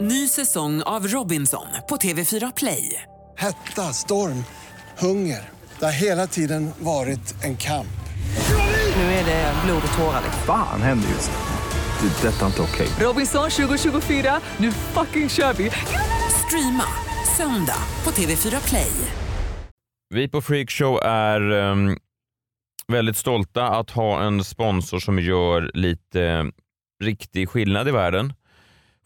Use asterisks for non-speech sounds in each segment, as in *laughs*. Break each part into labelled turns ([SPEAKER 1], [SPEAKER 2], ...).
[SPEAKER 1] Ny säsong av Robinson på TV4 Play.
[SPEAKER 2] Hetta, storm, hunger. Det har hela tiden varit en kamp.
[SPEAKER 1] Nu är det blod och tårar.
[SPEAKER 3] Fan händer just nu. Det. är Detta är inte okej.
[SPEAKER 1] Robinson 2024, nu fucking kör vi! Streama söndag på TV4 Play.
[SPEAKER 4] Vi på Freakshow är ehm, väldigt stolta att ha en sponsor som gör lite eh, riktig skillnad i världen.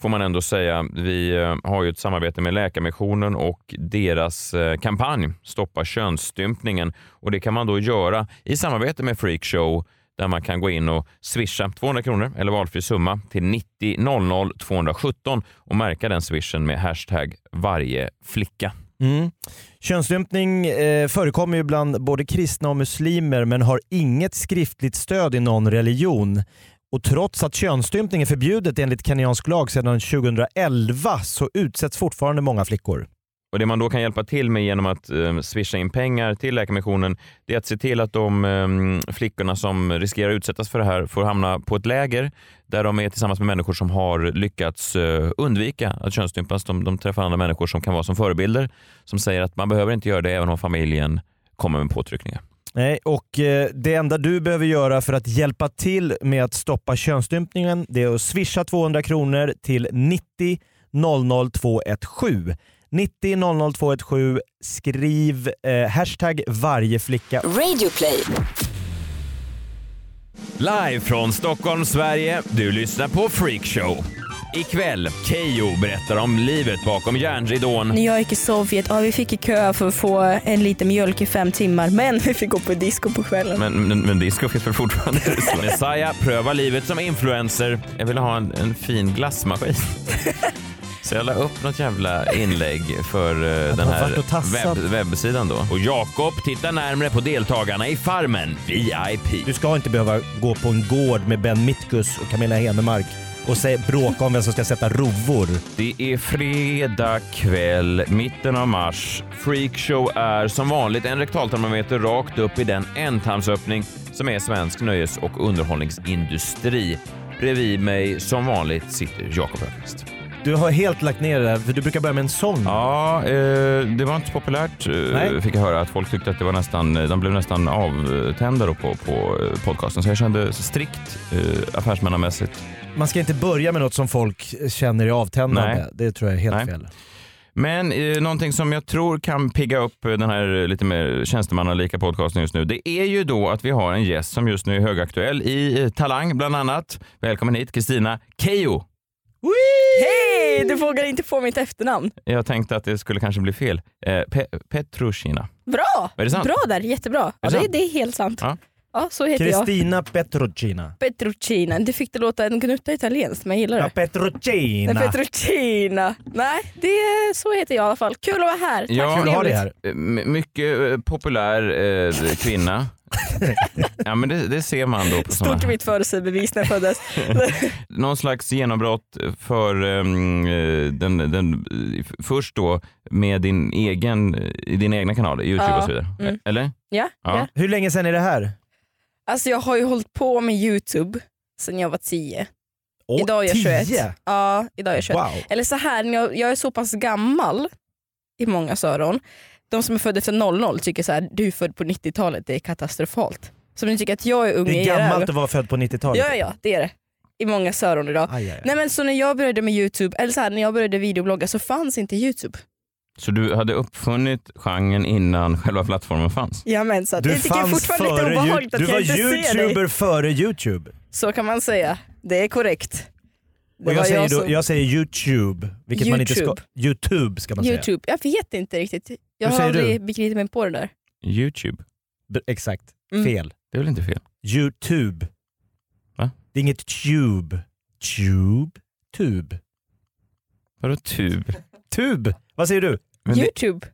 [SPEAKER 4] Får man ändå säga. Vi eh, har ju ett samarbete med Läkarmissionen och deras eh, kampanj Stoppa könsstympningen. Och det kan man då göra i samarbete med Freakshow där man kan gå in och swisha 200 kronor eller valfri summa till 90 00 217 och märka den swishen med hashtag varje flicka.
[SPEAKER 5] Mm. Könsstympning eh, förekommer ju bland både kristna och muslimer men har inget skriftligt stöd i någon religion. Och trots att könsstympning är förbjudet enligt kenyansk lag sedan 2011 så utsätts fortfarande många flickor.
[SPEAKER 4] Och Det man då kan hjälpa till med genom att eh, swisha in pengar till Läkarmissionen det är att se till att de eh, flickorna som riskerar att utsättas för det här får hamna på ett läger där de är tillsammans med människor som har lyckats eh, undvika att könsstympas. De, de träffar andra människor som kan vara som förebilder som säger att man behöver inte göra det även om familjen kommer med påtryckningar.
[SPEAKER 5] Nej, och eh, det enda du behöver göra för att hjälpa till med att stoppa könsstympningen det är att swisha 200 kronor till 90 00 217. 90 00 217. Skriv eh, hashtag varje flicka
[SPEAKER 4] Live från Stockholm, Sverige. Du lyssnar på Freakshow. Ikväll, Keyyo berättar om livet bakom järnridån.
[SPEAKER 6] När jag gick i Sovjet, ja vi fick i kö för att få en liten mjölk i fem timmar men vi fick gå på disco på kvällen.
[SPEAKER 4] Men, men, men disco finns väl *laughs* fortfarande i Ryssland? Messiah prövar livet som influencer. Jag vill ha en, en fin glassmaskin. Så jag la upp något jävla inlägg för eh, den
[SPEAKER 5] har
[SPEAKER 4] här
[SPEAKER 5] varit och tassat.
[SPEAKER 4] webb, webbsidan då. Och Jakob tittar närmre på deltagarna i Farmen VIP.
[SPEAKER 5] Du ska inte behöva gå på en gård med Ben Mitkus och Camilla Henemark och säga, bråka om vem som ska sätta rovor.
[SPEAKER 4] Det är fredag kväll, mitten av mars. Freakshow är som vanligt en rektaltermometer rakt upp i den ändtarmsöppning som är svensk nöjes och underhållningsindustri. Bredvid mig, som vanligt, sitter Jakob Öqvist.
[SPEAKER 5] Du har helt lagt ner det där, för du brukar börja med en sång.
[SPEAKER 4] Ja, eh, det var inte så populärt eh,
[SPEAKER 5] Nej.
[SPEAKER 4] fick jag höra. Att folk tyckte att det var nästan, eh, de blev nästan avtända då på, på eh, podcasten. Så jag kände strikt eh, affärsmannamässigt.
[SPEAKER 5] Man ska inte börja med något som folk känner är avtändande.
[SPEAKER 4] Nej.
[SPEAKER 5] Det tror jag är helt
[SPEAKER 4] Nej.
[SPEAKER 5] fel.
[SPEAKER 4] Men eh, någonting som jag tror kan pigga upp eh, den här eh, lite mer tjänstemannalika podcasten just nu, det är ju då att vi har en gäst som just nu är högaktuell i eh, Talang bland annat. Välkommen hit Kristina Kejo.
[SPEAKER 6] Hej! Du vågar inte få mitt efternamn.
[SPEAKER 4] Jag tänkte att det skulle kanske bli fel. Eh, Pe- Petrushina.
[SPEAKER 6] Bra!
[SPEAKER 4] Är det sant?
[SPEAKER 6] Bra där, jättebra. Ja, det,
[SPEAKER 4] sant?
[SPEAKER 6] det är helt sant.
[SPEAKER 4] Ja.
[SPEAKER 6] Ja, så heter jag.
[SPEAKER 5] Kristina Petrucina.
[SPEAKER 6] Petrucina. Du fick det låta en gnutta italienskt men jag gillar
[SPEAKER 5] Ja,
[SPEAKER 6] det.
[SPEAKER 5] Petrucina.
[SPEAKER 6] Nej, Petrucina. Nej, det är, så heter jag i alla fall. Kul att vara här. Tack
[SPEAKER 4] Ja.
[SPEAKER 5] Kul att ha dig
[SPEAKER 6] trevligt.
[SPEAKER 4] Eh,
[SPEAKER 5] här.
[SPEAKER 4] m- Mycket eh, populär eh,
[SPEAKER 5] *laughs*
[SPEAKER 4] kvinna. ja, men det, det ser man då på såna.
[SPEAKER 6] Stort är mitt födelsebevis när
[SPEAKER 4] *laughs*
[SPEAKER 6] jag föddes.
[SPEAKER 4] Någon slags genombrott för ehm, eh, den, den, f- först då med din egen, i dina egna kanaler, Youtube
[SPEAKER 6] Ja,
[SPEAKER 4] och så vidare.
[SPEAKER 6] mm.
[SPEAKER 4] Eller?
[SPEAKER 6] ja,
[SPEAKER 4] Ja.
[SPEAKER 6] ja.
[SPEAKER 5] Hur länge sedan är det här?
[SPEAKER 6] Alltså jag har ju hållit på med Youtube sedan jag var 10.
[SPEAKER 5] Åh,
[SPEAKER 6] idag är jag 21.
[SPEAKER 5] 10.
[SPEAKER 6] Ja, idag är jag 21.
[SPEAKER 5] Wow.
[SPEAKER 6] Eller så här, när jag, jag är så pass gammal i många öron. De som är födda efter 00 tycker så här, du är född på 90-talet, det är katastrofalt. Så om ni tycker att jag är ung
[SPEAKER 5] Det
[SPEAKER 6] i
[SPEAKER 5] är
[SPEAKER 6] era
[SPEAKER 5] gammalt
[SPEAKER 6] ögon-
[SPEAKER 5] att vara född på 90-talet.
[SPEAKER 6] Ja, ja, ja, det är det. I många öron idag.
[SPEAKER 5] Aj, aj, aj.
[SPEAKER 6] Nej men så när jag började med Youtube, eller så här, när jag började videoblogga så fanns inte Youtube.
[SPEAKER 4] Så du hade uppfunnit genren innan själva plattformen fanns?
[SPEAKER 6] Ja, men, så att,
[SPEAKER 5] Du
[SPEAKER 6] jag tycker
[SPEAKER 5] fanns
[SPEAKER 6] fortfarande lite
[SPEAKER 5] före
[SPEAKER 6] obehagligt
[SPEAKER 5] Youtube.
[SPEAKER 6] att
[SPEAKER 5] Du var
[SPEAKER 6] jag inte ser dig.
[SPEAKER 5] youtuber före youtube.
[SPEAKER 6] Så kan man säga. Det är korrekt.
[SPEAKER 5] Och
[SPEAKER 6] Det var
[SPEAKER 5] jag, säger då,
[SPEAKER 6] som-
[SPEAKER 5] jag säger youtube, vilket man inte ska...
[SPEAKER 6] YouTube.
[SPEAKER 5] Youtube ska man säga.
[SPEAKER 6] Youtube, jag vet inte riktigt. Jag
[SPEAKER 5] Hur
[SPEAKER 6] har
[SPEAKER 5] säger du?
[SPEAKER 6] aldrig begripit mig på det där.
[SPEAKER 4] Youtube?
[SPEAKER 5] B- Exakt.
[SPEAKER 6] Mm.
[SPEAKER 5] Fel.
[SPEAKER 4] Det är väl inte fel?
[SPEAKER 5] Youtube.
[SPEAKER 4] Va?
[SPEAKER 5] Det är inget tube. Tube? Tub.
[SPEAKER 4] Vadå tub?
[SPEAKER 5] Tub! Vad säger du?
[SPEAKER 4] Men det,
[SPEAKER 6] Youtube.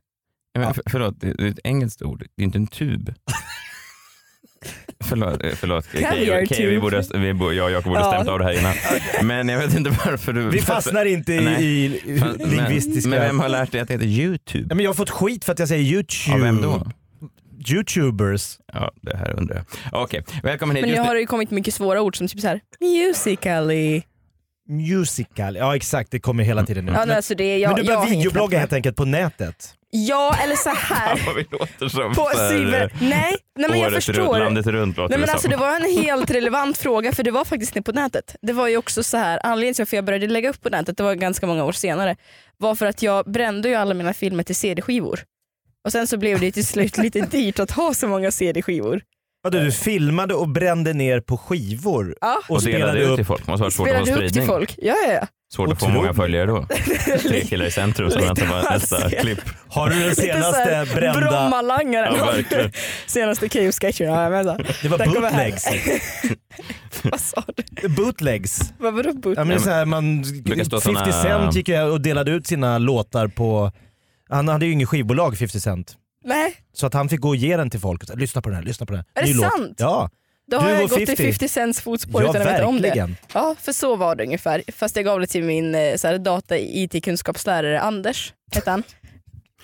[SPEAKER 4] men, för, förlåt, det det är ett engelskt ord. Det är inte en tub. Förlåt, eh, förlåt.
[SPEAKER 6] Caviar
[SPEAKER 4] Keyyo- Keyyo, vi
[SPEAKER 6] tube.
[SPEAKER 4] borde, vi borde, jag och Jakob borde
[SPEAKER 6] Ja.
[SPEAKER 4] stämt av det här innan. Men jag vet inte varför du... *laughs*
[SPEAKER 5] Vi fastnar inte i,
[SPEAKER 4] Nej.
[SPEAKER 5] i
[SPEAKER 4] Fan,
[SPEAKER 5] lingvistiska...
[SPEAKER 4] Men, men vem har lärt dig att det heter YouTube?
[SPEAKER 5] Nej, men jag har fått skit för att jag säger youtube.
[SPEAKER 4] Av vem då?
[SPEAKER 5] Youtubers.
[SPEAKER 4] Ja, det här undrar jag. Okej, välkommen hit.
[SPEAKER 6] Men nu
[SPEAKER 4] Just Mm.
[SPEAKER 6] har det ju kommit mycket svåra ord som typ så här musically.
[SPEAKER 5] musical. Ja exakt, det kommer hela tiden nu.
[SPEAKER 6] Ja, nej, alltså det är, jag,
[SPEAKER 5] Men du börjar
[SPEAKER 6] jag hänger
[SPEAKER 5] videoblogga
[SPEAKER 6] knappt
[SPEAKER 5] helt enkelt på nätet.
[SPEAKER 6] med. Ja, eller så
[SPEAKER 4] *laughs*
[SPEAKER 6] här.
[SPEAKER 4] Vad vi låter som
[SPEAKER 6] På
[SPEAKER 4] för, eh,
[SPEAKER 6] silver. Nej, nej men jag
[SPEAKER 4] året runt,
[SPEAKER 6] förstår.
[SPEAKER 4] landet runt låter
[SPEAKER 6] Nej, men
[SPEAKER 4] det
[SPEAKER 6] alltså,
[SPEAKER 4] som.
[SPEAKER 6] det var en helt relevant fråga för det var faktiskt inne på nätet. Det var ju också så här, anledningen till varför jag började lägga upp på nätet, det var ganska många år senare, var för att jag brände ju alla mina filmer till CD-skivor. Och sen så blev det ju till slut lite
[SPEAKER 4] *laughs*
[SPEAKER 6] dyrt att ha så många CD-skivor.
[SPEAKER 5] Vadå, du filmade och brände ner på skivor
[SPEAKER 6] Ja.
[SPEAKER 5] och
[SPEAKER 4] Eh. delade
[SPEAKER 5] spelade
[SPEAKER 4] ut
[SPEAKER 5] upp
[SPEAKER 4] till folk. Måste ha varit svårt att
[SPEAKER 6] Spelade
[SPEAKER 4] få
[SPEAKER 6] upp till
[SPEAKER 4] spridning.
[SPEAKER 6] folk. Ja, ja, ja.
[SPEAKER 4] Svårt att få många
[SPEAKER 5] Otroligt.
[SPEAKER 4] följare
[SPEAKER 6] *laughs*
[SPEAKER 4] då. Tre killar i centrum som
[SPEAKER 6] lite
[SPEAKER 4] väntar på nästa
[SPEAKER 6] avancerat.
[SPEAKER 4] klipp.
[SPEAKER 5] Har *laughs* du den senaste brända...
[SPEAKER 6] Brommalangaren.
[SPEAKER 4] Ja, verkligen.
[SPEAKER 6] *laughs* Senaste KO-sketchen. Ja, jag menar.
[SPEAKER 5] Det var
[SPEAKER 6] Där kommer här.
[SPEAKER 5] bootlegs.
[SPEAKER 6] *laughs* Vad sa du?
[SPEAKER 5] bootlegs.
[SPEAKER 6] Vad var det? boot-
[SPEAKER 5] Ja, men det är så här, man,
[SPEAKER 4] brukar stå
[SPEAKER 5] 50
[SPEAKER 4] såna-
[SPEAKER 5] Cent gick ju och delade ut sina låtar på... Han hade ju inget skivbolag 50 Cent.
[SPEAKER 6] Nej,
[SPEAKER 5] Så att han fick gå och ge den till folk. Och säga, lyssna på den här, lyssna på den här.
[SPEAKER 6] Är det
[SPEAKER 5] Ny låt."
[SPEAKER 6] sant?
[SPEAKER 5] Ja,
[SPEAKER 6] då
[SPEAKER 5] Du
[SPEAKER 6] har jag
[SPEAKER 5] och
[SPEAKER 6] gått
[SPEAKER 5] 50.
[SPEAKER 6] i 50 Cents fotspår
[SPEAKER 5] ja
[SPEAKER 6] utan att veta om det.
[SPEAKER 5] verkligen.
[SPEAKER 6] Ja, för så var det ungefär. Fast jag gav det till min eh, så här, data-IT-kunskapslärare Anders. Hette han.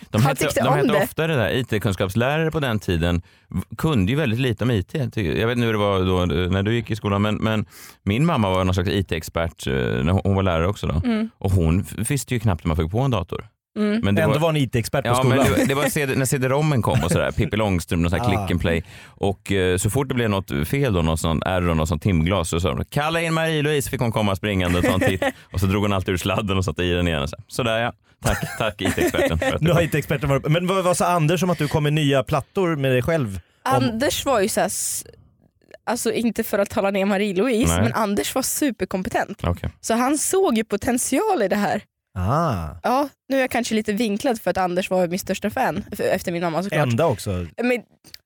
[SPEAKER 4] De
[SPEAKER 6] Han
[SPEAKER 4] hette,
[SPEAKER 6] tyckte
[SPEAKER 4] de
[SPEAKER 6] om
[SPEAKER 4] hette
[SPEAKER 6] det.
[SPEAKER 4] ofta det där, IT-kunskapslärare på den tiden v- kunde ju väldigt lite om IT. Jag tycker- Jag vet inte hur det var då, eh, när du gick i skolan, men, men min mamma var någon slags IT-expert eh, när hon- hon var lärare också. Då.
[SPEAKER 6] Mm.
[SPEAKER 4] Och hon f- visste ju knappt hur man fick på en dator. Men det
[SPEAKER 5] Ändå
[SPEAKER 4] var-
[SPEAKER 5] var han IT-expert på
[SPEAKER 4] Ja, men
[SPEAKER 5] skolan.
[SPEAKER 4] det, det var CD, när CD-rommen kom och sådär, Pippi Långstrump, någon sån här
[SPEAKER 5] Ah.
[SPEAKER 4] click and play. Och eh, så fort det blev något fel, då, någon sån error, någon sån timglas, så sa de kalla in Marie-Louise, fick hon komma springande och ta en titt. Och så drog hon alltid ur sladden och satte i den igen. Och så, här, sådär ja, tack, tack IT-experten. för att
[SPEAKER 5] *laughs* Nu
[SPEAKER 4] du
[SPEAKER 5] har
[SPEAKER 4] kom."
[SPEAKER 5] IT-experten varit Men vad, vad sa Anders om att du kom med nya plattor med dig själv? *laughs* Om,
[SPEAKER 6] Anders var ju så här, s- alltså inte för att tala ner Marie-Louise,
[SPEAKER 4] Nej.
[SPEAKER 6] men Anders var superkompetent.
[SPEAKER 4] Okej.
[SPEAKER 6] Så han såg ju potential i det här.
[SPEAKER 5] ah,
[SPEAKER 6] Ja, nu är jag kanske lite vinklad för att Anders var min största fan, f- efter min mamma såklart.
[SPEAKER 5] enda också.
[SPEAKER 6] Men,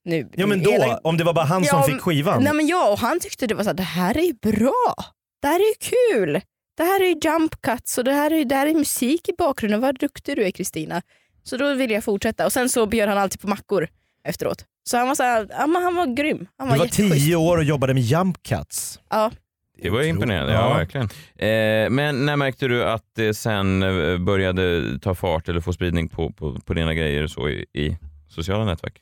[SPEAKER 6] nu,
[SPEAKER 5] Ja men då,
[SPEAKER 6] hela-
[SPEAKER 5] om det var bara han som
[SPEAKER 6] Ja,
[SPEAKER 5] fick skivan.
[SPEAKER 6] Nej men ja, och han tyckte det var så här, det här är ju bra. Det här är ju kul. Det här är ju jump cuts och det här är, ju- det här är musik i bakgrunden. Vad duktig du är Kristina. Så då ville jag fortsätta. Och sen så bjöd han alltid på mackor efteråt. Så han var så här, ja, men han var grym. Han var,
[SPEAKER 5] Du var
[SPEAKER 6] jätteschysst.
[SPEAKER 5] tio år och jobbade med Jump Cuts.
[SPEAKER 6] Ja.
[SPEAKER 4] Det var ju imponerande, ja, verkligen. Eh, men när märkte du att det sen eh, började ta fart eller få spridning på, på, på dina grejer och så i, i sociala nätverk?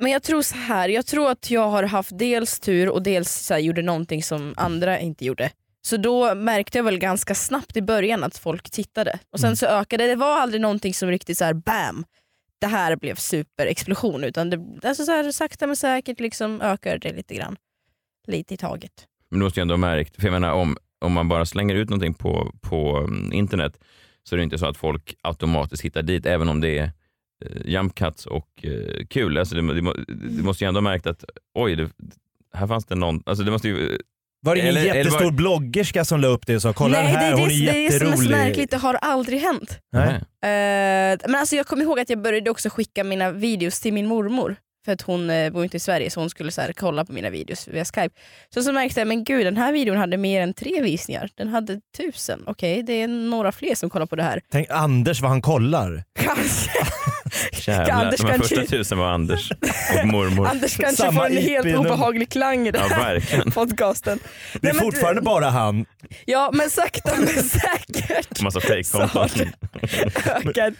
[SPEAKER 6] Men jag tror så här, jag tror att jag har haft dels tur och dels så här, gjorde någonting som andra inte gjorde. Så då märkte jag väl ganska snabbt i början att folk tittade. Och
[SPEAKER 5] Mm.
[SPEAKER 6] sen så ökade det, det var aldrig någonting som riktigt så här bam, det här blev superexplosion. Utan det, alltså så här, sakta men säkert liksom ökade det lite grann. Lite i taget.
[SPEAKER 4] Men du måste ju ändå ha märkt, för jag menar om, om man bara slänger ut någonting på, på mm, internet så är det inte så att folk automatiskt hittar dit, även om det är eh, jump cuts och eh, kul. Alltså det, må- det, må- du måste ju ändå ha märkt att oj, det, här fanns det någon... Alltså det måste ju,
[SPEAKER 5] Var det ingen
[SPEAKER 4] Eller- eller
[SPEAKER 5] jättestor
[SPEAKER 4] var-
[SPEAKER 5] bloggerska som la upp det och sa kolla
[SPEAKER 6] Nej,
[SPEAKER 5] den här,
[SPEAKER 6] det, är
[SPEAKER 5] hon
[SPEAKER 6] det,
[SPEAKER 5] är
[SPEAKER 6] det är som är så
[SPEAKER 5] jätterolig.
[SPEAKER 6] märkligt, det har aldrig hänt.
[SPEAKER 5] Nej.
[SPEAKER 6] Eh, men alltså jag kommer ihåg att jag började också skicka mina videos till min mormor. För att hon eh, bor inte i Sverige så hon skulle så här, kolla på mina videos via skype. Så så märkte jag, men gud den här videon hade mer än tre visningar. Den hade tusen. Okej, det är några fler som kollar på det här. *laughs*
[SPEAKER 5] Tänk Anders vad han kollar.
[SPEAKER 6] Kanske.
[SPEAKER 4] Jävlar,
[SPEAKER 6] Anders
[SPEAKER 4] de här
[SPEAKER 6] kanske-
[SPEAKER 4] första typ- tusen var
[SPEAKER 6] *laughs*
[SPEAKER 4] Anders och mormor. *laughs*
[SPEAKER 6] Anders kanske
[SPEAKER 5] Samma
[SPEAKER 6] får en
[SPEAKER 5] IP
[SPEAKER 6] helt
[SPEAKER 5] nummer.
[SPEAKER 6] obehaglig klang i den
[SPEAKER 4] Ja,
[SPEAKER 6] här
[SPEAKER 4] verkligen.
[SPEAKER 6] podcasten.
[SPEAKER 5] Det är
[SPEAKER 6] Nej, men-
[SPEAKER 5] fortfarande bara han.
[SPEAKER 6] Ja men sakta
[SPEAKER 4] *laughs*
[SPEAKER 6] men säkert
[SPEAKER 4] Massa
[SPEAKER 6] så har
[SPEAKER 4] fejkkonton.
[SPEAKER 6] det ökat.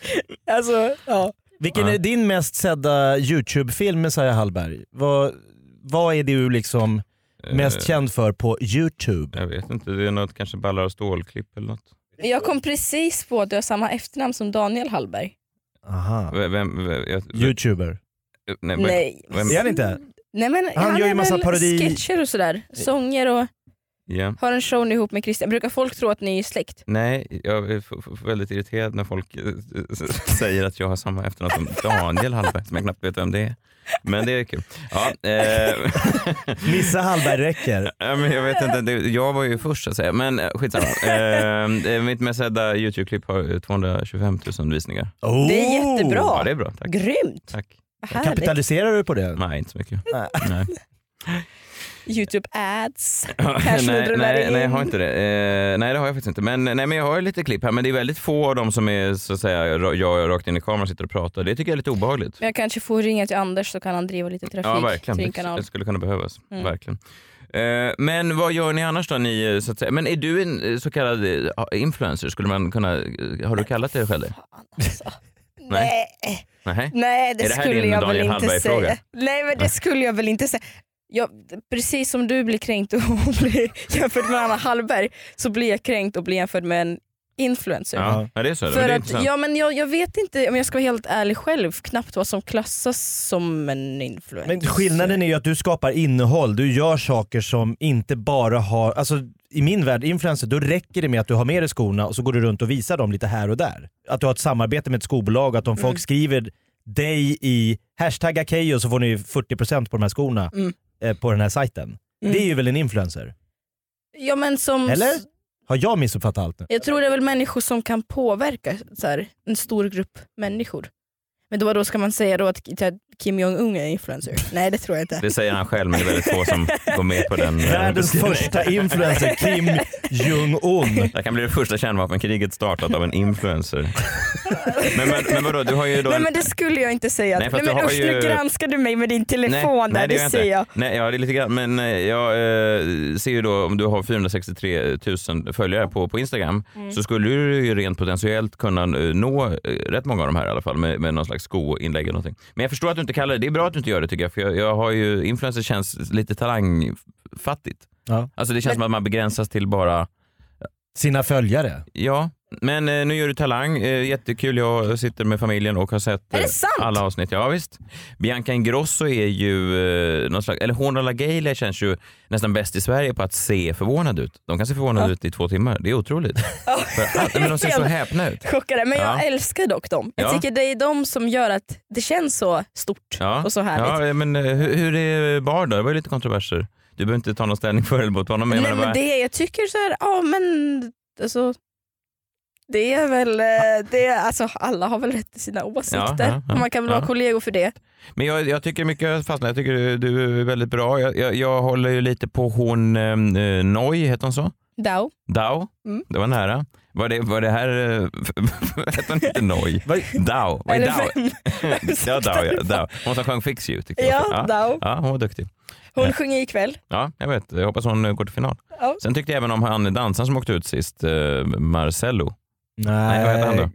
[SPEAKER 6] Alltså, ja.
[SPEAKER 5] Vilken
[SPEAKER 4] Ja.
[SPEAKER 5] är din mest sedda Youtube-film Messiah Hallberg? Vad, vad är du liksom mest känd för på Youtube?
[SPEAKER 4] Eh, Jag vet inte, det är något kanske ballar och stålklipp eller något.
[SPEAKER 6] Jag kom precis på att du har samma efternamn som Daniel Hallberg.
[SPEAKER 5] Aha.
[SPEAKER 4] Vem, vem, vem, jag,
[SPEAKER 5] Eh. Youtuber.
[SPEAKER 4] nej, men-
[SPEAKER 6] Nej.
[SPEAKER 4] vem-
[SPEAKER 5] Är han inte?
[SPEAKER 6] Nej men
[SPEAKER 5] Han
[SPEAKER 6] han,
[SPEAKER 5] gör ju
[SPEAKER 6] är
[SPEAKER 5] massa
[SPEAKER 6] väl
[SPEAKER 5] parodi-
[SPEAKER 6] sketcher och sådär. Sånger och
[SPEAKER 4] ja.
[SPEAKER 6] har en show ihop med Christian. Brukar folk tro att ni är släkt?
[SPEAKER 4] nej, jag är f- f- väldigt irriterad när folk eh, s- säger att jag har samma efternamn som Daniel Hallberg, som jag knappt vet vem det är. Men det är kul. Ja, eh, *laughs*
[SPEAKER 5] Missa Hallberg räcker.
[SPEAKER 4] Ja, men jag vet inte, det, jag var ju först så att säga. Men eh, skitsamma. Eh, eh, mitt mest sedda Youtube-klipp har eh, 225 000 visningar.
[SPEAKER 5] Oh.
[SPEAKER 6] Det är jättebra.
[SPEAKER 4] Ja, det är bra. Tack.
[SPEAKER 6] Grymt!
[SPEAKER 4] Tack.
[SPEAKER 6] Vad härligt.
[SPEAKER 5] Kapitaliserar du på det?
[SPEAKER 4] Nej, inte så mycket.
[SPEAKER 5] Nej.
[SPEAKER 4] Nej.
[SPEAKER 6] Youtube ads. Kanske
[SPEAKER 4] *laughs* nej,
[SPEAKER 6] rullar
[SPEAKER 4] nej,
[SPEAKER 6] in.
[SPEAKER 4] nej, jag har inte det. Eh, nej, det har jag faktiskt inte. Men, nej, men jag har ju lite klipp här, men det är väldigt få av dem som är så att säga, ra- jag rakt in i kameran sitter och pratar. Det tycker jag är lite obehagligt.
[SPEAKER 6] Men jag kanske får ringa till Anders så kan han driva lite trafik
[SPEAKER 4] Ja, verkligen.
[SPEAKER 6] till din
[SPEAKER 4] Det,
[SPEAKER 6] kanal.
[SPEAKER 4] det skulle kunna behövas.
[SPEAKER 6] Mm.
[SPEAKER 4] Verkligen. Eh, men vad gör ni annars då? Ni, eh, så att säga? Men är du en eh, så kallad eh, influencer? Skulle man kunna, eh, har du kallat dig själv det?
[SPEAKER 6] Fan, alltså.
[SPEAKER 4] Nej.
[SPEAKER 6] Nej.
[SPEAKER 4] *laughs* Nej.
[SPEAKER 6] Nej det,
[SPEAKER 4] Är det här
[SPEAKER 6] skulle
[SPEAKER 4] din
[SPEAKER 6] jag
[SPEAKER 4] Daniel
[SPEAKER 6] väl inte
[SPEAKER 4] Hallberg-fråga?
[SPEAKER 6] säga. Nej men det skulle jag väl inte säga. jag, precis som du blir kränkt och *laughs* blir jämförd med Anna Hallberg så blir jag kränkt och blir jämförd med en influencer.
[SPEAKER 4] Ja, ja, det är så. men
[SPEAKER 6] För
[SPEAKER 4] det är
[SPEAKER 6] att,
[SPEAKER 4] intressant.
[SPEAKER 6] ja, men jag, jag vet inte, om jag ska vara helt ärlig själv, knappt vad som klassas som en influencer.
[SPEAKER 5] Men skillnaden är ju att du skapar innehåll, du gör saker som inte bara har, alltså i min värld, influencer, då räcker det med att du har med dig skorna och så går du runt och visar dem lite här och där. Att du har ett samarbete med ett skobolag, att om folk skriver dig i hashtagga Keyyo så får ni 40% på de här skorna
[SPEAKER 6] Mm.
[SPEAKER 5] eh, på den här sajten. Det är ju väl en influencer?
[SPEAKER 6] Ja, men som,
[SPEAKER 5] Eller? Har jag missuppfattat allt nu?
[SPEAKER 6] Jag tror det är väl människor som kan påverka så här, en stor grupp människor. Men då, då ska man säga då att att Kim Jong-Un
[SPEAKER 4] *laughs*
[SPEAKER 6] är influencer? Nej det tror jag inte.
[SPEAKER 4] Det säger han själv, men det är väldigt få som går med på den. eh,
[SPEAKER 5] Världens
[SPEAKER 4] beskrivningen.
[SPEAKER 5] första influencer, Kim Jong-Un.
[SPEAKER 4] Det här kan bli det första kärnvapenkriget startat av en influencer. men, men, men vadå, du har ju då
[SPEAKER 6] Nej
[SPEAKER 4] en...
[SPEAKER 6] men det skulle jag inte säga.
[SPEAKER 4] Nej,
[SPEAKER 6] Nej,
[SPEAKER 4] fast
[SPEAKER 6] men
[SPEAKER 4] du har
[SPEAKER 6] usch,
[SPEAKER 4] ju-
[SPEAKER 6] nu granskar du mig med din telefon där, det,
[SPEAKER 4] gör jag
[SPEAKER 6] ser
[SPEAKER 4] inte.
[SPEAKER 6] jag.
[SPEAKER 4] Nej, ja, det är lite grann, men eh, jag eh, ser ju då om du har 463 000 följare på, på Instagram
[SPEAKER 6] Mm.
[SPEAKER 4] så skulle du ju rent potentiellt kunna eh, nå eh, rätt många av de här i alla fall med, med någon slags skoinlägg eller någonting. Men jag förstår att du inte kallar det, det är bra att du inte gör det tycker jag, för jag, jag har ju, influencer känns lite talangfattigt.
[SPEAKER 5] Ja.
[SPEAKER 4] Alltså det känns
[SPEAKER 6] Men-
[SPEAKER 4] som att man begränsas till bara,
[SPEAKER 5] Sina följare.
[SPEAKER 4] ja, men eh, nu gör du talang, eh, jättekul, jag sitter med familjen och har sett
[SPEAKER 6] Är
[SPEAKER 4] eh,
[SPEAKER 6] det sant?
[SPEAKER 4] alla avsnitt. Ja, visst. Bianca Ingrosso är ju eh, någon slags, eller Honra La Gayle känns ju nästan bäst i Sverige på att se förvånad ut. De kan se förvånade ut i två timmar. Det är
[SPEAKER 6] *laughs*
[SPEAKER 4] otroligt. För att, nej, men de ser så häpna ut.
[SPEAKER 6] Chockade. Men
[SPEAKER 4] Ja.
[SPEAKER 6] jag älskar dock dem. Jag
[SPEAKER 4] Ja.
[SPEAKER 6] tycker det är de som gör att det känns så stort
[SPEAKER 4] Ja.
[SPEAKER 6] och så härligt.
[SPEAKER 4] Ja, men eh, hur, hur är Bar då? Det var ju lite kontroverser. Du behöver inte ta någon ställning för eller mot honom. Men jag
[SPEAKER 6] Nej,
[SPEAKER 4] menar
[SPEAKER 6] men
[SPEAKER 4] bara-
[SPEAKER 6] det, jag tycker så här, ja men alltså, det är väl, eh, det, är- alltså, alla har väl rätt till sina åsikter.
[SPEAKER 4] ja, ja,
[SPEAKER 6] och man kan väl
[SPEAKER 4] ja.
[SPEAKER 6] vara kollegor för det.
[SPEAKER 4] Men jag, jag tycker mycket jag fastnar. Jag tycker du, du är väldigt bra. Jag, jag, jag håller ju lite på hon eh, Noi, heter hon så?
[SPEAKER 6] Dao.
[SPEAKER 4] Dao.
[SPEAKER 6] Mm.
[SPEAKER 4] Det var nära. Var det, var det här... eh, *laughs* Hette hon inte Noi?
[SPEAKER 5] *laughs*
[SPEAKER 4] Dao. Vad är
[SPEAKER 6] Eller
[SPEAKER 4] Dao? *laughs*
[SPEAKER 6] vem?
[SPEAKER 4] ja, Dao, ja, Dao. Hon som sjöng Fix You tycker jag.
[SPEAKER 6] Ja, Dao.
[SPEAKER 4] ja, hon var duktig.
[SPEAKER 6] Hon sjunger ikväll.
[SPEAKER 4] Ja, jag vet. Jag hoppas hon eh, går till final.
[SPEAKER 6] Ja.
[SPEAKER 4] Sen tyckte jag även om han dansaren som åkte ut sist, eh, Marcello. Nej, vad heter
[SPEAKER 5] Eh,
[SPEAKER 4] han då?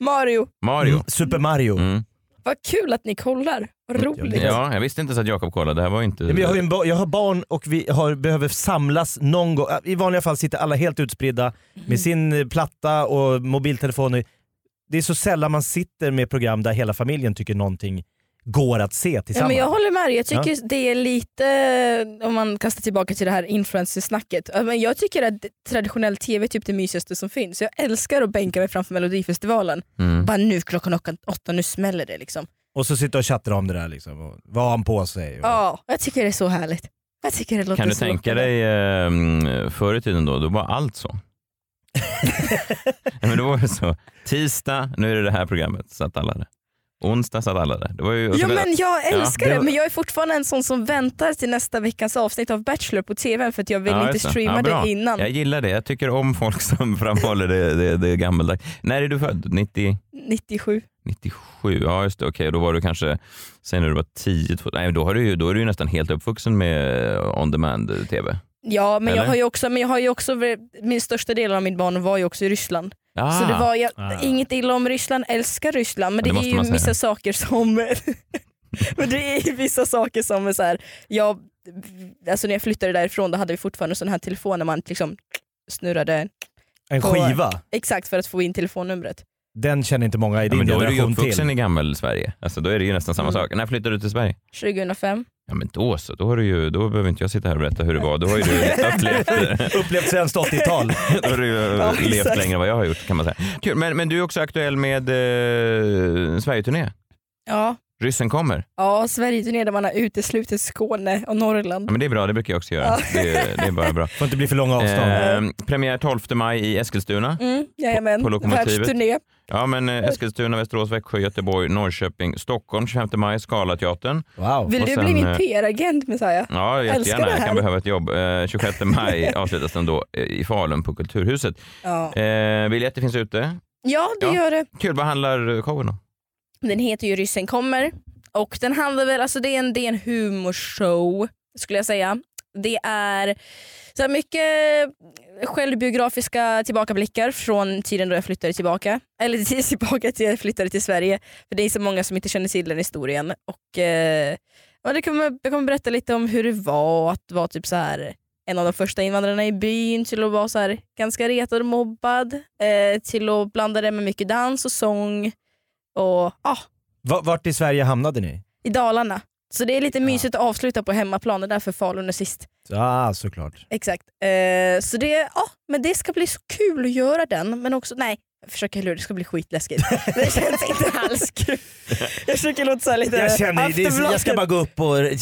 [SPEAKER 6] Mario,
[SPEAKER 4] Mario.
[SPEAKER 5] Super Mario.
[SPEAKER 4] Mm.
[SPEAKER 6] vad kul att ni kollar. Vad roligt.
[SPEAKER 4] Ja, jag visste inte så att Jakob kollade. Det här var ju inte...
[SPEAKER 5] Ja, men jag, har ju en ba- jag har barn och vi har, behöver samlas någon gång. Äh, I vanliga fall sitter alla helt utspridda med sin eh, platta och mobiltelefoner. Det är så sällan man sitter med program där hela familjen tycker någonting går att se
[SPEAKER 6] Ja,
[SPEAKER 5] tillsammans.
[SPEAKER 6] men jag håller med dig. Jag tycker det är lite, eh, om man kastar tillbaka till det här influencersnacket. Ja, men Jag tycker att traditionell tv är typ det mysigaste som finns. Jag älskar att bänka mig framför melodifestivalen.
[SPEAKER 4] Mm.
[SPEAKER 6] Bara nu klockan åtta, nu smäller det liksom.
[SPEAKER 5] Och så sitter och chattar om det där liksom. Och vad har han på sig? Och...
[SPEAKER 6] Ja, jag tycker det är så härligt. Jag tycker det låter
[SPEAKER 4] Kan du
[SPEAKER 6] så
[SPEAKER 4] tänka
[SPEAKER 6] lockande.
[SPEAKER 4] dig eh, förr i tiden då, då var allt
[SPEAKER 6] *laughs*
[SPEAKER 4] så. Nej, men då var det så. Tisdag, nu är det det här programmet, satt alla där. Onsdag satt alla där. Det var ju, och så-
[SPEAKER 6] Ja, men jag älskar
[SPEAKER 4] det
[SPEAKER 6] det,
[SPEAKER 4] var-
[SPEAKER 6] men jag är fortfarande en sån som väntar till nästa veckans avsnitt av Bachelor på TV för att jag vill
[SPEAKER 4] Ja,
[SPEAKER 6] inte
[SPEAKER 4] just det.
[SPEAKER 6] streama
[SPEAKER 4] Ja, bra.
[SPEAKER 6] det innan.
[SPEAKER 4] Jag gillar det. Jag tycker om folk som *laughs* framhåller det, det, det gammaldags. När är du född? 90,
[SPEAKER 6] 97.
[SPEAKER 4] 97? Ja, just det. Okej, då var du kanske, säg när du var 10, två- nej, men då, har du ju, då är du ju nästan helt uppvuxen med eh, on demand-tv.
[SPEAKER 6] Ja, men jag,
[SPEAKER 4] Eller?
[SPEAKER 6] har ju också, men jag har ju också, min största del av min barn var ju också i Ryssland.
[SPEAKER 4] Ah,
[SPEAKER 6] Så det var jag,
[SPEAKER 5] Ah.
[SPEAKER 6] inget illa om Ryssland, älskar Ryssland men
[SPEAKER 4] Ja, det
[SPEAKER 6] det,
[SPEAKER 4] måste
[SPEAKER 6] är
[SPEAKER 4] man
[SPEAKER 6] ju
[SPEAKER 4] säga.
[SPEAKER 6] vissa
[SPEAKER 4] *laughs*
[SPEAKER 6] saker som men det är ju vissa saker som är så här, jag, alltså när jag flyttade därifrån då hade vi fortfarande sån här telefon när man liksom snurrade
[SPEAKER 5] En
[SPEAKER 6] Och-
[SPEAKER 5] skiva.
[SPEAKER 6] exakt för att få in telefonnumret.
[SPEAKER 5] Den känner inte många i
[SPEAKER 4] ja,
[SPEAKER 5] din
[SPEAKER 4] men då är du ju
[SPEAKER 5] generation
[SPEAKER 4] uppvuxen
[SPEAKER 5] till.
[SPEAKER 4] i gammel-Sverige. Alltså, då är det ju nästan samma
[SPEAKER 6] Mm.
[SPEAKER 4] sak. När flyttade du till Sverige?
[SPEAKER 6] 2005.
[SPEAKER 4] Ja men då så, då, har du ju, då behöver inte jag sitta här och berätta hur det var. Då har
[SPEAKER 6] *laughs*
[SPEAKER 4] ju du upplevt,
[SPEAKER 5] *laughs* Upplevt svenskt 80-tal.
[SPEAKER 4] då har du ju
[SPEAKER 6] Ja, exakt.
[SPEAKER 4] levt längre än vad jag har gjort kan man säga. Kul, men, men du är också aktuell med eh, Sverigeturné.
[SPEAKER 6] Ja,
[SPEAKER 4] Ryssen kommer.
[SPEAKER 6] ja Sverigeturné där man har uteslutit Skåne och Norrland.
[SPEAKER 4] Ja, men det är bra, det brukar jag också göra. Det, är- det är bara bra.
[SPEAKER 5] Får inte bli för långa avstånd.
[SPEAKER 4] Eh, premiär 12 maj i Eskilstuna.
[SPEAKER 6] Mm, jajamän,
[SPEAKER 4] På- på lokomotivet.
[SPEAKER 6] världsturné.
[SPEAKER 4] Ja, men eh, Eskilstuna, Västerås, Växjö, Göteborg, Norrköping, Stockholm 25 maj, Scalateatern.
[SPEAKER 5] Wow.
[SPEAKER 6] Vill
[SPEAKER 4] Och
[SPEAKER 6] du
[SPEAKER 4] sen,
[SPEAKER 6] bli
[SPEAKER 4] eh,
[SPEAKER 6] min PR-agent Messiah?
[SPEAKER 4] Ja,
[SPEAKER 6] Älskar
[SPEAKER 4] jättegärna.
[SPEAKER 6] det
[SPEAKER 4] Jag kan
[SPEAKER 6] här.
[SPEAKER 4] behöva ett jobb. Eh, 26 maj avslutas den då eh, i Falun på Kulturhuset.
[SPEAKER 6] Ja,
[SPEAKER 4] Eh, biljetter finns ute.
[SPEAKER 6] ja det
[SPEAKER 4] ja.
[SPEAKER 6] gör det.
[SPEAKER 4] Kul, vad handlar eh, showen om?
[SPEAKER 6] Den heter ju Ryssen kommer och den handlar väl, alltså det är en, det är en humorshow skulle jag säga. Det är så här mycket självbiografiska tillbakablickar från tiden då jag flyttade tillbaka. Eller *laughs* till- tillbaka till jag flyttade till Sverige. För det är så många som inte känner till den historien. Och eh, Och det kommer, jag kommer berätta lite om hur det var att vara typ så här en av de första invandrarna i byn till att vara så här, ganska retad och mobbad. Eh, till att blanda det med mycket dans och sång. Och ah, ja,
[SPEAKER 5] Va- Vart i Sverige hamnade ni?
[SPEAKER 6] i Dalarna. Så det är lite mysigt att avsluta på hemmaplan. Det är därför Falun är sist.
[SPEAKER 5] Ja, ah, såklart.
[SPEAKER 6] Exakt. Eh, så det, ja, men det ska bli så kul att göra den, men också, nej, jag försöker lura, det ska
[SPEAKER 5] *laughs*
[SPEAKER 6] bli skitläskigt. Det känns inte alls kul. Jag försöker låta så här lite
[SPEAKER 5] Jag känner, det är, jag ska
[SPEAKER 6] Aftonbladet.
[SPEAKER 5] bara gå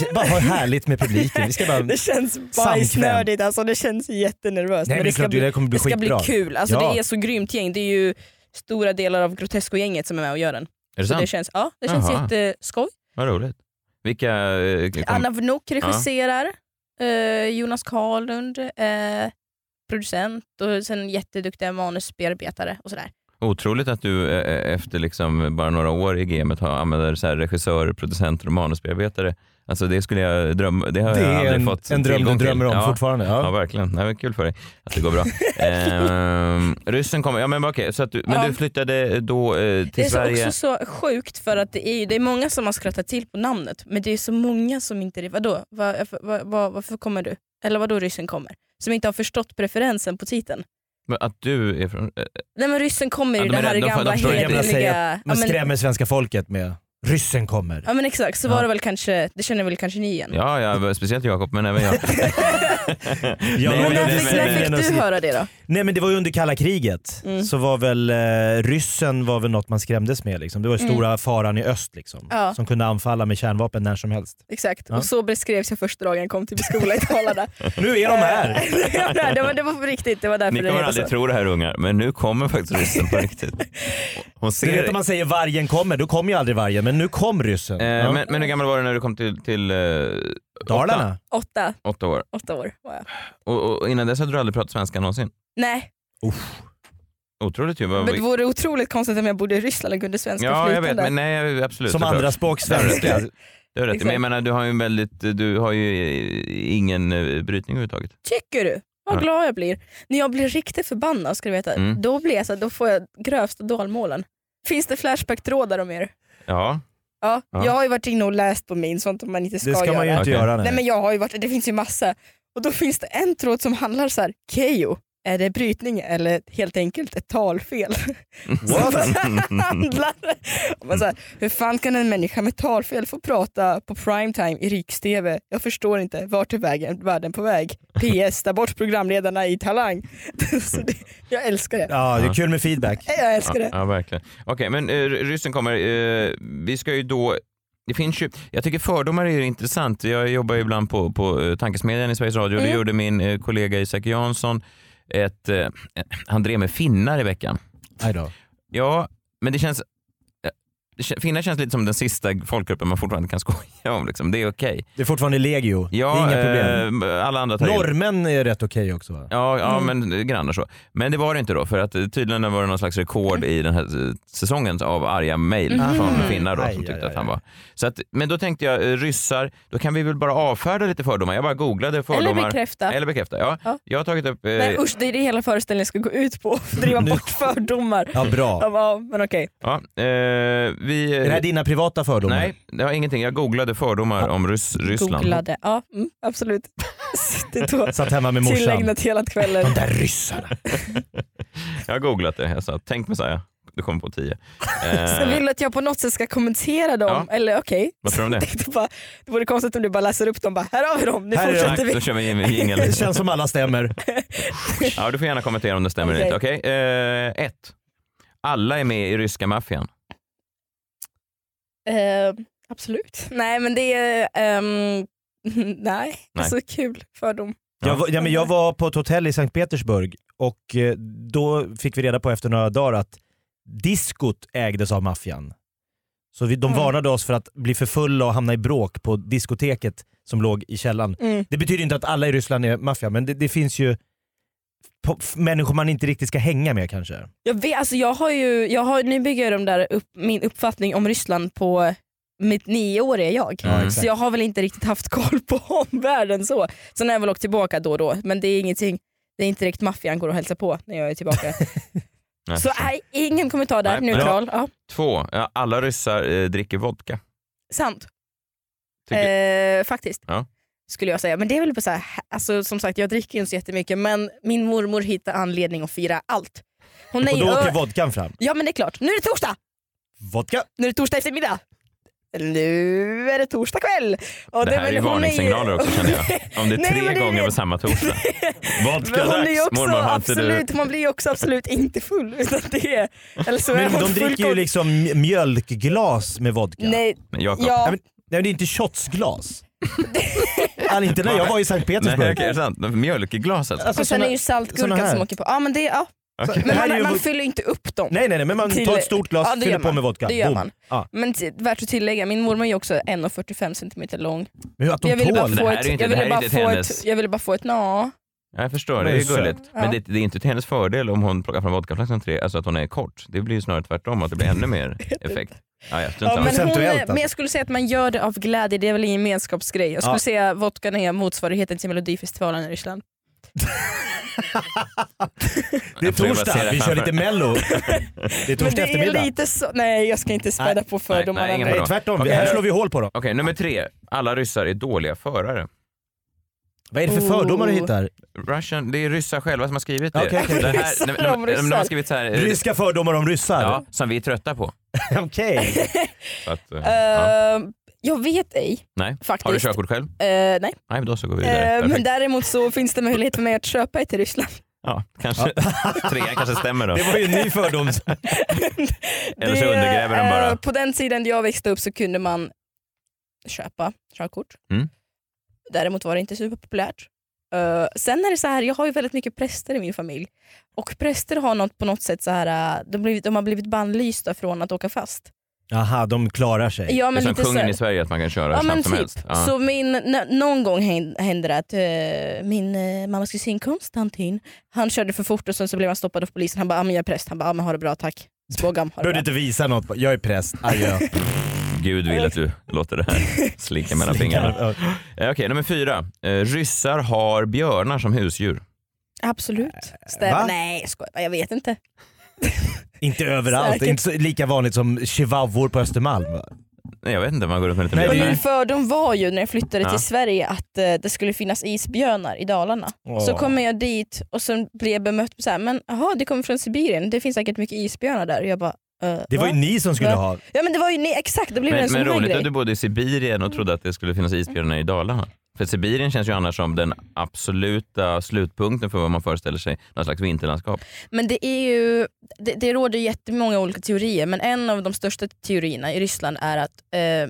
[SPEAKER 5] upp och bara ha härligt med publiken. Vi ska bara...
[SPEAKER 6] *laughs* Det känns bajsnödigt alltså, det känns jättenervöst.
[SPEAKER 5] Nej, men det är klart, det där kommer bli
[SPEAKER 6] det ska bli
[SPEAKER 5] skitbra.
[SPEAKER 6] kul, alltså,
[SPEAKER 5] Ja.
[SPEAKER 6] det är så grymt gäng. Det är ju stora delar av Grotesco-gänget som är med och gör den.
[SPEAKER 4] Är det
[SPEAKER 6] Så det
[SPEAKER 4] sant?
[SPEAKER 6] känns, ja, det känns
[SPEAKER 4] Jaha.
[SPEAKER 6] jätteskoj.
[SPEAKER 4] Vad roligt. Vilka... eh, Kom...
[SPEAKER 6] Anna Vnuk regisserar, eh, Jonas Karlund eh, producent och sen jätteduktiga manusbearbetare och sådär.
[SPEAKER 4] Otroligt att du eh, efter liksom bara några år i gamet har använder så här regissörer, producenter och manusbearbetare. Alltså det skulle jag drömma... Det har
[SPEAKER 5] Det
[SPEAKER 4] jag
[SPEAKER 5] är
[SPEAKER 4] aldrig
[SPEAKER 5] en,
[SPEAKER 4] fått
[SPEAKER 5] en dröm du
[SPEAKER 4] tillgång till.
[SPEAKER 5] drömmer om
[SPEAKER 4] ja.
[SPEAKER 5] fortfarande. Ja.
[SPEAKER 4] Ja, verkligen. Nej, men kul för dig att det går
[SPEAKER 5] *laughs*
[SPEAKER 4] bra. ehm, ryssen kommer. Ja, men okej. så att du, men
[SPEAKER 6] Ja.
[SPEAKER 4] du flyttade då eh, till
[SPEAKER 6] Det är så
[SPEAKER 4] Sverige.
[SPEAKER 6] också så sjukt för att det är, ju- det är många som har skrattat till på namnet men det är så många som inte... Vadå? Var, var, var, varför kommer du? Eller vadå ryssen kommer? Som inte har förstått preferensen på titeln.
[SPEAKER 4] Men Att du är från... eh,
[SPEAKER 6] Nej men ryssen kommer
[SPEAKER 4] Ja,
[SPEAKER 6] ju
[SPEAKER 4] de
[SPEAKER 6] det
[SPEAKER 4] är
[SPEAKER 6] här
[SPEAKER 4] rädda för-
[SPEAKER 6] gamla
[SPEAKER 4] de tror inte
[SPEAKER 5] det.
[SPEAKER 6] heliga... Ja
[SPEAKER 5] Man
[SPEAKER 6] men,
[SPEAKER 5] skrämmer svenska folket med ryssen kommer.
[SPEAKER 6] ja men exakt, så
[SPEAKER 5] Ja.
[SPEAKER 6] var det väl kanske, det känner väl kanske ni igen.
[SPEAKER 4] Ja, ja, speciellt Jakob, men
[SPEAKER 6] *laughs*
[SPEAKER 4] även jag.
[SPEAKER 5] Ja,
[SPEAKER 4] Nej,
[SPEAKER 6] Men
[SPEAKER 5] men
[SPEAKER 6] när
[SPEAKER 5] det-
[SPEAKER 6] fick,
[SPEAKER 5] men-
[SPEAKER 6] när
[SPEAKER 5] men-
[SPEAKER 6] fick du höra det då?
[SPEAKER 5] Nej men det var ju under kalla kriget,
[SPEAKER 6] Mm.
[SPEAKER 5] så var väl eh, ryssen var väl något man skrämdes med. Liksom. Det var ju
[SPEAKER 6] Mm.
[SPEAKER 5] stora faran i öst liksom,
[SPEAKER 6] Ja.
[SPEAKER 5] som kunde anfalla med kärnvapen när som helst.
[SPEAKER 6] Exakt,
[SPEAKER 5] Ja.
[SPEAKER 6] och så beskrevs jag första dagen jag kom till skolan i
[SPEAKER 4] *laughs*
[SPEAKER 6] Dalarna. *laughs*
[SPEAKER 5] Nu är de *laughs* här!
[SPEAKER 6] Ja, nej, det, var, det var på riktigt, det var därför
[SPEAKER 4] Ni
[SPEAKER 6] det
[SPEAKER 4] kommer
[SPEAKER 6] heter så.
[SPEAKER 4] aldrig tro det här ungar, men nu kommer faktiskt ryssen på
[SPEAKER 6] *laughs*
[SPEAKER 4] riktigt. Hon
[SPEAKER 5] Du
[SPEAKER 4] ser
[SPEAKER 5] vet
[SPEAKER 4] det.
[SPEAKER 5] om man säger vargen kommer, då kom ju aldrig vargen, men nu kom ryssen.
[SPEAKER 4] Eh,
[SPEAKER 5] ja.
[SPEAKER 4] men, men hur gammal var du när du kom till, till eh, Åtta,
[SPEAKER 5] Dalarna.
[SPEAKER 6] Åtta,
[SPEAKER 4] åtta år.
[SPEAKER 6] åtta år var jag.
[SPEAKER 4] Och, och innan dess hade du aldrig pratat svenska någonsin.
[SPEAKER 6] Nej,
[SPEAKER 4] Otroligt ju. Vad,
[SPEAKER 6] men det vore otroligt konstigt om jag bodde i Ryssland och kunde svenska
[SPEAKER 4] ja, jag
[SPEAKER 6] flytande.
[SPEAKER 4] vet, men nej, absolut.
[SPEAKER 5] Som
[SPEAKER 4] såklart.
[SPEAKER 5] *laughs* andra språk
[SPEAKER 4] Det har
[SPEAKER 5] svenska.
[SPEAKER 4] du rätt Det har du rätt i. Men jag
[SPEAKER 6] Exakt.
[SPEAKER 4] menar, du har ju en väldigt, du har ju ingen eh, brytning överhuvudtaget.
[SPEAKER 6] Tycker du?
[SPEAKER 4] Ja.
[SPEAKER 6] Vad glad jag blir. När jag blir riktigt förbannad ska du veta,
[SPEAKER 4] Mm.
[SPEAKER 6] då, blir jag så, här, då får jag grövsta dalmålen. Finns det flashback-trådar om er?
[SPEAKER 4] Ja.
[SPEAKER 6] Ja.
[SPEAKER 4] Ja.
[SPEAKER 6] Jag har ju varit inne och läst på min, sånt man inte ska,
[SPEAKER 5] Det ska
[SPEAKER 6] göra.
[SPEAKER 5] man ju inte
[SPEAKER 4] Okej.
[SPEAKER 5] göra.
[SPEAKER 6] Nej
[SPEAKER 5] Nej.
[SPEAKER 6] men jag har ju varit, det finns ju massa. Och då finns det en tråd som handlar så här: Keyyo, är det brytning eller helt enkelt ett talfel? *laughs* Som handlar om att så här, Hur fan kan en människa med talfel få prata på primetime i riks-tv? Jag förstår inte, vart är vägen, världen på väg? PS, ta bort programledarna i Talang. *laughs* så det, jag älskar det.
[SPEAKER 5] Ja, det är kul med feedback.
[SPEAKER 6] Jag älskar det.
[SPEAKER 4] Ja, verkligen. Okej, men eh, ryssen kommer. Eh, vi ska ju då... Det finns ju, jag tycker fördomar är ju intressant. Jag jobbar ju ibland på, på eh, Tankesmedjan i Sveriges Radio. Det
[SPEAKER 6] Mm.
[SPEAKER 4] gjorde min eh, kollega Isak Jansson. Ett, eh, han drev med finnar i veckan.
[SPEAKER 6] Eh,
[SPEAKER 5] Nej då.
[SPEAKER 4] Ja, men det känns... eh, det kän- Finnar känns lite som den sista folkgruppen man fortfarande kan *laughs* skoja om. Liksom. Det är okej.
[SPEAKER 5] Det är fortfarande legio.
[SPEAKER 4] Ja,
[SPEAKER 5] det är inga problem. Mm.
[SPEAKER 4] eh, alla andra tar in-
[SPEAKER 5] Norrmän är rätt okej också va?
[SPEAKER 4] Ja, ja men grannar så. Men det var det inte då, för att eh, tydligen var det någon slags rekord i den här eh, säsongen av arga mejl
[SPEAKER 5] Mhm.
[SPEAKER 4] från finnar då,
[SPEAKER 5] Aj,
[SPEAKER 4] som
[SPEAKER 5] aj,
[SPEAKER 4] tyckte
[SPEAKER 5] aj,
[SPEAKER 4] att han
[SPEAKER 5] aj.
[SPEAKER 4] var... Så att, men då tänkte jag, eh, ryssar, då kan vi väl bara avfärda lite fördomar. Jag bara googlade fördomar.
[SPEAKER 6] Eller bekräfta.
[SPEAKER 4] Eller bekräfta, ja.
[SPEAKER 6] Ja.
[SPEAKER 4] Jag har tagit upp... eh,
[SPEAKER 6] Nej usch, det är det hela föreställningen ska gå ut på. *laughs* Driva bort fördomar.
[SPEAKER 5] Ja, bra.
[SPEAKER 6] Ja, ja, men okej.
[SPEAKER 4] ja, eh, vi,
[SPEAKER 5] Är det här dina privata fördomar?
[SPEAKER 4] Nej, det har ingenting. Jag googlade fördomar om Ryss, Ryssland.
[SPEAKER 6] Googlade. Ja, mm, absolut. Suttit och
[SPEAKER 5] Satt hemma med morsan.
[SPEAKER 6] tillägnat hela kvällen.
[SPEAKER 5] De där ryssarna.
[SPEAKER 4] Jag har googlat det. Jag sa, tänk Messiah, du kommer på tio.
[SPEAKER 6] Sen
[SPEAKER 4] Eh,
[SPEAKER 6] vill du att jag på något sätt ska kommentera dem, eller okej.
[SPEAKER 4] vad tror du om det?
[SPEAKER 6] Tänkte bara, *laughs* det vore konstigt om du bara läser upp dem bara här har vi dem, nu
[SPEAKER 5] Här är de.
[SPEAKER 6] fortsätter
[SPEAKER 4] Tack,
[SPEAKER 6] vi.
[SPEAKER 4] då kör vi en jingel.
[SPEAKER 5] Det känns som alla stämmer.
[SPEAKER 4] liksom. Ja, du får gärna kommentera om det stämmer eller inte. Okej, eh, ett. Alla är med i ryska maffian.
[SPEAKER 6] Eh, absolut. Nej men det är, ehm, *laughs* nej. Alltså kul fördom.
[SPEAKER 5] Jag var, ja, men jag var på ett hotell i Sankt Petersburg och eh, då fick vi reda på efter några dagar att diskot ägdes av maffian. Så vi, de
[SPEAKER 6] Mm.
[SPEAKER 5] varnade oss för att bli för fulla och hamna i bråk på diskoteket som låg i källaren.
[SPEAKER 6] Mm.
[SPEAKER 5] Det betyder inte att alla i Ryssland är maffia, men det, det finns ju po- f- människor man inte riktigt ska hänga med kanske.
[SPEAKER 6] Jag vet, alltså jag har ju, jag har, nu bygger jag de där upp, min uppfattning om Ryssland på mitt nioåriga jag.
[SPEAKER 4] Ja,
[SPEAKER 5] exakt.
[SPEAKER 6] så jag har väl inte riktigt haft koll på *laughs* omvärlden så. Sen har jag väl åkt tillbaka då och då, men det är ingenting, det är inte direkt maffian går och hälsar på när jag är tillbaka.
[SPEAKER 4] *laughs* Nej,
[SPEAKER 6] så
[SPEAKER 4] förstår.
[SPEAKER 6] nej, ingen kommentar där,
[SPEAKER 4] Nej,
[SPEAKER 6] neutral. Ja,
[SPEAKER 4] Två. Ja, alla ryssar eh, dricker vodka.
[SPEAKER 6] sant.
[SPEAKER 4] Tycker-
[SPEAKER 6] Eh, faktiskt.
[SPEAKER 4] Ja.
[SPEAKER 6] Skulle jag säga. Men det är väl på så här, alltså, som sagt jag dricker ju inte så jättemycket men min mormor hittar anledning att fira allt. Hon är
[SPEAKER 5] Och
[SPEAKER 6] ju
[SPEAKER 5] då åker
[SPEAKER 6] ö-
[SPEAKER 5] vodkan fram.
[SPEAKER 6] Ja men det är klart, nu är det torsdag!
[SPEAKER 5] Vodka!
[SPEAKER 6] Nu är det torsdag eftermiddag. Nu är det torsdag kväll. Och
[SPEAKER 4] Det här är
[SPEAKER 6] men
[SPEAKER 4] ju
[SPEAKER 6] hon ju-
[SPEAKER 4] varningssignaler också känner jag. Om det är
[SPEAKER 6] Nej,
[SPEAKER 4] tre
[SPEAKER 6] men det är
[SPEAKER 4] gånger
[SPEAKER 6] det.
[SPEAKER 4] på samma torsdag.
[SPEAKER 5] Vodka
[SPEAKER 6] *laughs* Men hon är
[SPEAKER 5] dags!
[SPEAKER 6] ju också
[SPEAKER 4] Mormor, har inte du-
[SPEAKER 6] absolut, man blir ju också absolut inte full. Utan det är, eller så är
[SPEAKER 5] Men
[SPEAKER 6] hon
[SPEAKER 5] de
[SPEAKER 6] full
[SPEAKER 5] dricker ju
[SPEAKER 6] koll.
[SPEAKER 5] liksom mj- mjölkglas med vodka.
[SPEAKER 6] Nej,
[SPEAKER 4] Men Jakob.
[SPEAKER 6] ja.
[SPEAKER 5] Nej, men, nej, det är inte
[SPEAKER 6] *laughs*
[SPEAKER 5] shotsglas. Alltså, inte när jag var i Sankt
[SPEAKER 4] Nej,
[SPEAKER 5] Petersburg.
[SPEAKER 4] okej, är det sant? Mjölk i glaset?
[SPEAKER 5] Alltså,
[SPEAKER 6] och sen är det ju
[SPEAKER 5] såna
[SPEAKER 6] saltgurkan
[SPEAKER 5] här.
[SPEAKER 6] som åker på. Ja, men det, ja.
[SPEAKER 4] Okej.
[SPEAKER 5] Det
[SPEAKER 6] Men
[SPEAKER 5] här är
[SPEAKER 6] man,
[SPEAKER 5] ju
[SPEAKER 6] man
[SPEAKER 5] vod-
[SPEAKER 6] fyller inte upp dem.
[SPEAKER 5] Nej, nej, nej, men man
[SPEAKER 6] Till-
[SPEAKER 5] tar ett stort glas,
[SPEAKER 6] Ja, det
[SPEAKER 5] fyller
[SPEAKER 6] gör
[SPEAKER 5] på
[SPEAKER 6] man.
[SPEAKER 5] med vodka.
[SPEAKER 6] Det gör
[SPEAKER 5] Boom.
[SPEAKER 6] man.
[SPEAKER 5] Ja.
[SPEAKER 6] Men t- värt att tillägga, min mormor är ju också 1,45 centimeter lång.
[SPEAKER 5] Men hur att de
[SPEAKER 6] Jag ville bara
[SPEAKER 5] tål?
[SPEAKER 4] Det
[SPEAKER 6] få
[SPEAKER 4] här är
[SPEAKER 6] ett...
[SPEAKER 4] ju inte-
[SPEAKER 6] Jag
[SPEAKER 4] det här
[SPEAKER 6] ville
[SPEAKER 4] är
[SPEAKER 6] bara
[SPEAKER 4] inte till
[SPEAKER 6] få
[SPEAKER 4] hennes-
[SPEAKER 6] ett... Jag ville bara få ett... Nå.
[SPEAKER 4] Jag förstår, det
[SPEAKER 5] Men
[SPEAKER 4] är ju
[SPEAKER 5] så-
[SPEAKER 4] gulligt.
[SPEAKER 6] ja.
[SPEAKER 4] Men det, det är inte till hennes fördel om hon plockar fram vodkaflaskan till det, alltså att hon är kort. Det blir ju snarare tvärtom, att det blir ännu mer effekt. Ja, jag
[SPEAKER 6] Ja,
[SPEAKER 4] struntar
[SPEAKER 6] men,
[SPEAKER 4] i det.
[SPEAKER 6] hon,
[SPEAKER 5] Procentuellt, alltså.
[SPEAKER 6] men jag skulle säga att man gör det av glädje, det är väl en gemenskapsgrej. Jag skulle
[SPEAKER 5] Ja.
[SPEAKER 6] säga att vodkan är motsvarigheten till melodifestivalen i Ryssland.
[SPEAKER 5] Det är
[SPEAKER 4] Jag försöker bara se
[SPEAKER 5] torsdag,
[SPEAKER 4] det
[SPEAKER 5] vi kör
[SPEAKER 4] framför *laughs*
[SPEAKER 5] lite mello. Det är
[SPEAKER 6] Men
[SPEAKER 5] torsdag
[SPEAKER 6] det är
[SPEAKER 5] eftermiddag.
[SPEAKER 6] lite så... Nej jag ska inte späda
[SPEAKER 5] Nej,
[SPEAKER 6] på
[SPEAKER 4] nej,
[SPEAKER 6] fördomarna.
[SPEAKER 4] inga
[SPEAKER 5] Nej
[SPEAKER 4] Bra.
[SPEAKER 5] tvärtom,
[SPEAKER 4] Okej.
[SPEAKER 5] här slår vi hål på dem.
[SPEAKER 4] Okej, nummer tre. Alla ryssar är dåliga förare.
[SPEAKER 5] Vad är det för fördomar du
[SPEAKER 6] Oh.
[SPEAKER 5] hittar?
[SPEAKER 4] Russian, det är ryssar själva som har skrivit det.
[SPEAKER 5] Okej, okej.
[SPEAKER 4] det
[SPEAKER 6] Ryssar
[SPEAKER 4] nej, men de,
[SPEAKER 6] om
[SPEAKER 4] de, de har
[SPEAKER 6] ryssar.
[SPEAKER 4] skrivit så här, eh,
[SPEAKER 5] Ryska fördomar om ryssar?
[SPEAKER 4] ja, som vi är trötta på.
[SPEAKER 5] *laughs* Okej.
[SPEAKER 4] Så att, eh,
[SPEAKER 6] Eh,
[SPEAKER 4] ja.
[SPEAKER 6] Jag vet ej
[SPEAKER 4] Nej.
[SPEAKER 6] faktiskt.
[SPEAKER 4] Har du körkort själv?
[SPEAKER 6] Eh, nej.
[SPEAKER 4] Nej, men då så går vi
[SPEAKER 6] Eh,
[SPEAKER 4] vidare.
[SPEAKER 6] men
[SPEAKER 4] Perfekt.
[SPEAKER 6] däremot så finns det möjlighet för mig att köpa ett i Ryssland.
[SPEAKER 4] Ja, kanske. *laughs* Trean kanske stämmer då.
[SPEAKER 5] Det var ju en ny fördom.
[SPEAKER 4] Eller så
[SPEAKER 6] Det,
[SPEAKER 4] undergräver den bara.
[SPEAKER 6] eh, På den tiden där jag växte upp så kunde man köpa körkort.
[SPEAKER 4] Mm.
[SPEAKER 6] Däremot var det inte superpopulärt. Eh, sen är det så här, jag har ju väldigt mycket präster i min familj. Och präster har något på något sätt så här, eh, de, blivit, de har blivit bannlysta från att åka fast.
[SPEAKER 5] *laughs* Jaha, de klarar sig.
[SPEAKER 6] Ja,
[SPEAKER 4] det är
[SPEAKER 6] men
[SPEAKER 4] som
[SPEAKER 6] lite så
[SPEAKER 4] kungen
[SPEAKER 6] här-
[SPEAKER 4] i Sverige, att man kan köra hur
[SPEAKER 6] Ja men
[SPEAKER 4] snabbt som
[SPEAKER 6] typ.
[SPEAKER 4] helst. Ja.
[SPEAKER 6] Så min, n- någon gång hän- hände det att eh, min uh, mammas kusin Konstantin, han körde för fort och sen så blev han stoppad av polisen. Han bara, ah, men jag är präst. Han bara, ah, men ha det bra tack. Spågam, ha det
[SPEAKER 5] Behövde
[SPEAKER 6] bra.
[SPEAKER 5] inte visa något. Jag är präst, adjö.
[SPEAKER 4] Gud vill att
[SPEAKER 6] *laughs*
[SPEAKER 4] du låter det här slinka mellan fingrarna.
[SPEAKER 5] Ja.
[SPEAKER 4] Eh, Okej, nummer fyra. Eh, ryssar har björnar som husdjur.
[SPEAKER 6] Absolut. Stäm.
[SPEAKER 5] va?
[SPEAKER 6] Nej jag skojar, jag vet inte.
[SPEAKER 5] Inte överallt,
[SPEAKER 6] Säkert.
[SPEAKER 5] Det är inte så- lika vanligt som chihuahuor på Östermalm. va?
[SPEAKER 4] Nej, jag vet inte, man går runt med lite
[SPEAKER 5] Nej, det är
[SPEAKER 6] Men
[SPEAKER 5] ju-
[SPEAKER 4] björnar.
[SPEAKER 6] min fördom var ju när jag flyttade
[SPEAKER 4] Ja.
[SPEAKER 6] till Sverige att eh, det skulle finnas isbjörnar i Dalarna. Så
[SPEAKER 5] Åh.
[SPEAKER 6] kommer jag dit och sen blir jag bemött med så här, men jaha det kommer från Sibirien, det finns säkert mycket isbjörnar där. Och jag bara, eh,
[SPEAKER 5] Det var ju
[SPEAKER 6] va?
[SPEAKER 5] ni som skulle
[SPEAKER 6] Va?
[SPEAKER 5] ha.
[SPEAKER 6] Ja men det var ju ni, exakt, det blev en
[SPEAKER 4] Men,
[SPEAKER 6] sån
[SPEAKER 4] men
[SPEAKER 6] här
[SPEAKER 4] roligt
[SPEAKER 6] grej.
[SPEAKER 4] att du bodde i Sibirien och trodde att det skulle finnas isbjörnar i Dalarna. För Sibirien känns ju annars som den absoluta slutpunkten för vad man föreställer sig, någon slags vinterlandskap.
[SPEAKER 6] Men det är ju, det, det råder jättemånga olika teorier men en av de största teorierna i Ryssland är att, eh,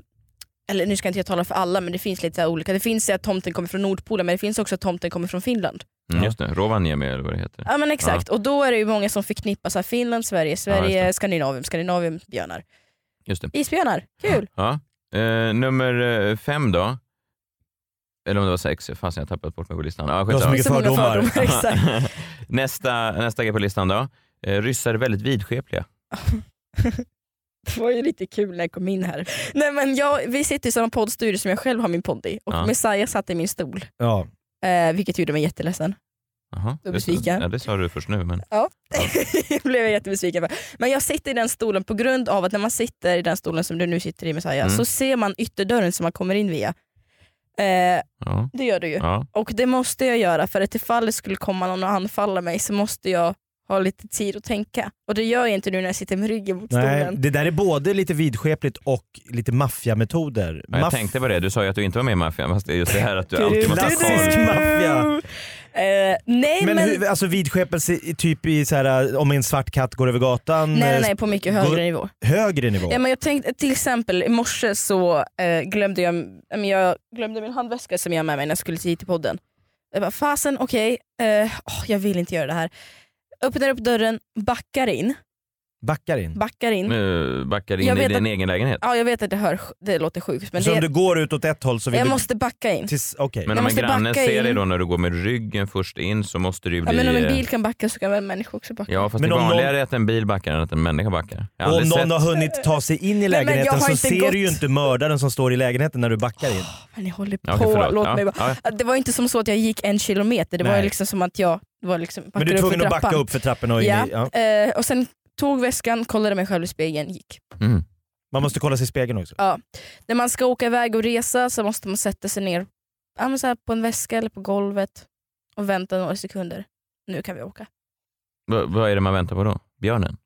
[SPEAKER 6] eller nu ska inte jag tala för alla men det finns lite så här olika, det finns ju att tomten kommer från Nordpolen men det finns också att tomten kommer från Finland.
[SPEAKER 4] Mm,
[SPEAKER 5] Ja.
[SPEAKER 4] Just det, Rovaniemi eller vad det heter.
[SPEAKER 6] Ja men exakt, och då är det ju många som förknippar så här Finland, Sverige, Sverige, Skandinavien, Skandinavien, björnar.
[SPEAKER 4] Just det.
[SPEAKER 6] Isbjörnar, kul!
[SPEAKER 4] Ja. Eh, nummer eh, fem då. Eller om det var sex, fasen jag har tappat bort mig på listan. Ja,
[SPEAKER 5] Det var så
[SPEAKER 4] skitsamma. *laughs*
[SPEAKER 5] mycket
[SPEAKER 6] Så många
[SPEAKER 5] fördomar.
[SPEAKER 6] fördomar, exakt.
[SPEAKER 4] nästa, nästa grej på listan då. Eh, ryssar är väldigt vidskepliga.
[SPEAKER 6] Det var ju lite kul när jag kom in här. Nej men jag, vi sitter i samma poddstudio som jag själv har min podd i och
[SPEAKER 4] Ja.
[SPEAKER 6] Messiah satt i min stol,
[SPEAKER 5] Ja.
[SPEAKER 6] eh, vilket gjorde mig jätteledsen. *laughs*
[SPEAKER 4] Jaha,
[SPEAKER 6] Då
[SPEAKER 4] just
[SPEAKER 6] besviken.
[SPEAKER 4] det. Ja, det sa du först nu. Men...
[SPEAKER 6] Det blev jag jättebesviken på. Men jag sitter i den stolen på grund av att när man sitter i den stolen som du nu sitter i Messiah
[SPEAKER 4] Mm.
[SPEAKER 6] så ser man ytterdörren som man kommer in via. Eh,
[SPEAKER 4] Ja,
[SPEAKER 6] det gör du ju.
[SPEAKER 4] ja.
[SPEAKER 6] Och det måste jag göra för att ifall det skulle komma någon och anfalla mig så måste jag ha lite tid att tänka. Och det gör jag inte nu när jag sitter med ryggen mot
[SPEAKER 5] Nej,
[SPEAKER 6] stolen.
[SPEAKER 5] det där är både lite vidskepligt och lite maffiametoder.
[SPEAKER 4] Ja, Jag
[SPEAKER 5] Maff-
[SPEAKER 4] tänkte på det, du sa ju att du inte var med i maffian fast det är just det här att du alltid måste ha
[SPEAKER 5] Klassisk
[SPEAKER 4] koll.
[SPEAKER 5] maffia.
[SPEAKER 6] Eh, nej men...
[SPEAKER 5] Men hur, alltså vidskepelse i- typ i så här, om en svart katt går över gatan,
[SPEAKER 6] Nej, nej,
[SPEAKER 5] eh,
[SPEAKER 6] nej, på mycket högre
[SPEAKER 5] Går-
[SPEAKER 6] nivå.
[SPEAKER 5] högre nivå.
[SPEAKER 6] Ja, men jag tänkte, till exempel i morse så eh, glömde jag, ja, men jag glömde min handväska som jag har med mig när jag skulle hit till podden. Jag bara, fasen okej, eh, åh, jag vill inte göra det här. Öppnar upp dörren, backar in.
[SPEAKER 5] Backar in.
[SPEAKER 6] Backar in.
[SPEAKER 4] Nu backar du
[SPEAKER 6] Mm. Jag
[SPEAKER 4] in i
[SPEAKER 6] vet
[SPEAKER 4] din
[SPEAKER 6] att-
[SPEAKER 4] egen lägenhet.
[SPEAKER 6] Ja, jag vet att det, hör, det låter sjukt men
[SPEAKER 5] så om
[SPEAKER 6] det,
[SPEAKER 5] du går ut åt ett håll så vill
[SPEAKER 6] jag
[SPEAKER 5] du...
[SPEAKER 6] måste backa in.
[SPEAKER 5] Tills, okej.
[SPEAKER 4] Men om en
[SPEAKER 6] måste
[SPEAKER 4] granne
[SPEAKER 6] backa
[SPEAKER 4] ser dig
[SPEAKER 6] in.
[SPEAKER 4] då när du går med ryggen först in så måste det ju
[SPEAKER 6] Ja,
[SPEAKER 4] bli...
[SPEAKER 6] men om en
[SPEAKER 4] eh,
[SPEAKER 6] bil kan backa så kan väl en människa också backa.
[SPEAKER 4] Ja fast
[SPEAKER 5] Men
[SPEAKER 4] det
[SPEAKER 5] om någon-
[SPEAKER 4] vanligare är att en bil backar än att en människa backar. Jag har
[SPEAKER 5] Och om
[SPEAKER 4] aldrig
[SPEAKER 5] någon
[SPEAKER 4] sett...
[SPEAKER 5] har hunnit ta sig in i
[SPEAKER 6] men jag
[SPEAKER 5] lägenheten
[SPEAKER 6] har
[SPEAKER 5] så
[SPEAKER 6] inte
[SPEAKER 5] ser
[SPEAKER 6] gått.
[SPEAKER 5] du ju inte mördaren som står i lägenheten när du backar in.
[SPEAKER 6] Men ni håller på,
[SPEAKER 4] Ja, okej, förlåt.
[SPEAKER 6] låt
[SPEAKER 4] Ja,
[SPEAKER 6] mig bara.
[SPEAKER 4] ja.
[SPEAKER 6] Det var inte som så att jag gick en kilometer, det var
[SPEAKER 5] Nej.
[SPEAKER 6] ju liksom som att jag det var liksom,
[SPEAKER 5] Men du är
[SPEAKER 6] backade upp för
[SPEAKER 5] tvungen att backa
[SPEAKER 6] trappan.
[SPEAKER 5] upp för trappan och in
[SPEAKER 6] Ja.
[SPEAKER 5] i... Ja.
[SPEAKER 6] Eh, och sen tog väskan, kollade mig själv i spegeln, gick.
[SPEAKER 4] Mm.
[SPEAKER 5] Man måste kolla sig i spegeln också.
[SPEAKER 6] När man ska åka iväg och resa så måste man sätta sig ner ja, men så här på en väska eller på golvet och vänta några sekunder. Nu kan vi åka.
[SPEAKER 4] V- vad är det man väntar på då? Björnen?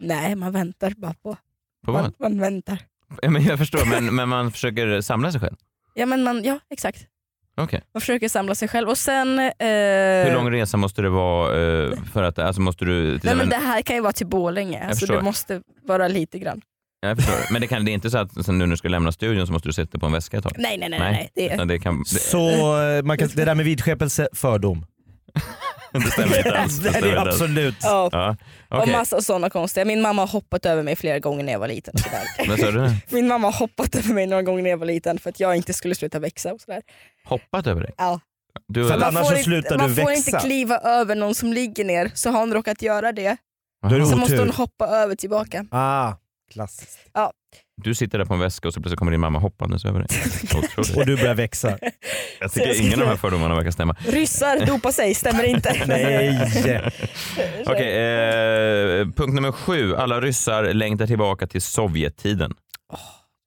[SPEAKER 6] Nej, man väntar bara på.
[SPEAKER 4] På vad?
[SPEAKER 6] Man, man väntar.
[SPEAKER 4] Ja, Men jag förstår, men, men man försöker samla sig själv?
[SPEAKER 6] Ja, men man, ja, exakt.
[SPEAKER 4] Okej.
[SPEAKER 6] Man försöker samla sig själv. Och sen... Eh,
[SPEAKER 4] Hur lång resa måste det vara eh, för att, alltså måste du... till
[SPEAKER 6] Nej, men
[SPEAKER 4] exempel-
[SPEAKER 6] det här kan ju vara till Borlänge, alltså,
[SPEAKER 4] förstår.
[SPEAKER 6] du måste vara lite grann.
[SPEAKER 4] Jag förstår. Men det, kan, det är inte så att sen nu när du ska lämna studion så måste du sätta på en väska ett tag?
[SPEAKER 6] Nej, nej, nej. nej. nej. Det,
[SPEAKER 4] Utan det, kan, det,
[SPEAKER 5] Så eh, man kan, det där med vidskepelse,
[SPEAKER 4] *laughs*
[SPEAKER 5] fördom.
[SPEAKER 4] det stämmer inte alls.
[SPEAKER 5] *laughs*
[SPEAKER 6] *laughs*
[SPEAKER 5] det
[SPEAKER 4] stämmer
[SPEAKER 5] är
[SPEAKER 4] inte alls.
[SPEAKER 5] absolut.
[SPEAKER 6] ja.
[SPEAKER 4] Ja,
[SPEAKER 6] Och
[SPEAKER 4] okej.
[SPEAKER 6] massa sådana konstiga. Min mamma har hoppat över mig flera gånger när jag var liten.
[SPEAKER 5] *laughs*
[SPEAKER 6] och sådär.
[SPEAKER 4] Vad sa du?
[SPEAKER 6] Min mamma har hoppat över mig några gånger när jag var liten för att jag inte skulle sluta växa. Och sådär.
[SPEAKER 4] Hoppat över dig?
[SPEAKER 6] Ja.
[SPEAKER 4] Du,
[SPEAKER 5] För att
[SPEAKER 4] Jaha.
[SPEAKER 5] annars
[SPEAKER 6] får
[SPEAKER 5] så
[SPEAKER 6] inte-
[SPEAKER 5] slutar
[SPEAKER 6] man
[SPEAKER 5] du
[SPEAKER 6] får
[SPEAKER 5] växa.
[SPEAKER 6] inte kliva över någon som ligger ner, så har hon råkat göra det
[SPEAKER 5] Då är det
[SPEAKER 6] så måste
[SPEAKER 5] otur.
[SPEAKER 6] hon hoppa över
[SPEAKER 5] *laughs*
[SPEAKER 6] tillbaka. *laughs*
[SPEAKER 5] Ah, klassiskt.
[SPEAKER 4] du sitter där på en väska och så plötsligt kommer din mamma hoppandes över dig. Otroligt.
[SPEAKER 5] *laughs* Och du börjar
[SPEAKER 6] *laughs*
[SPEAKER 5] växa.
[SPEAKER 4] Jag tycker ingen av de här fördomarna verkar stämma.
[SPEAKER 6] Ryssar dopar sig, stämmer inte.
[SPEAKER 5] *laughs*
[SPEAKER 6] *laughs*
[SPEAKER 5] Nej!
[SPEAKER 4] Okej, eh, punkt nummer sju. Alla ryssar längtar tillbaka till Sovjettiden.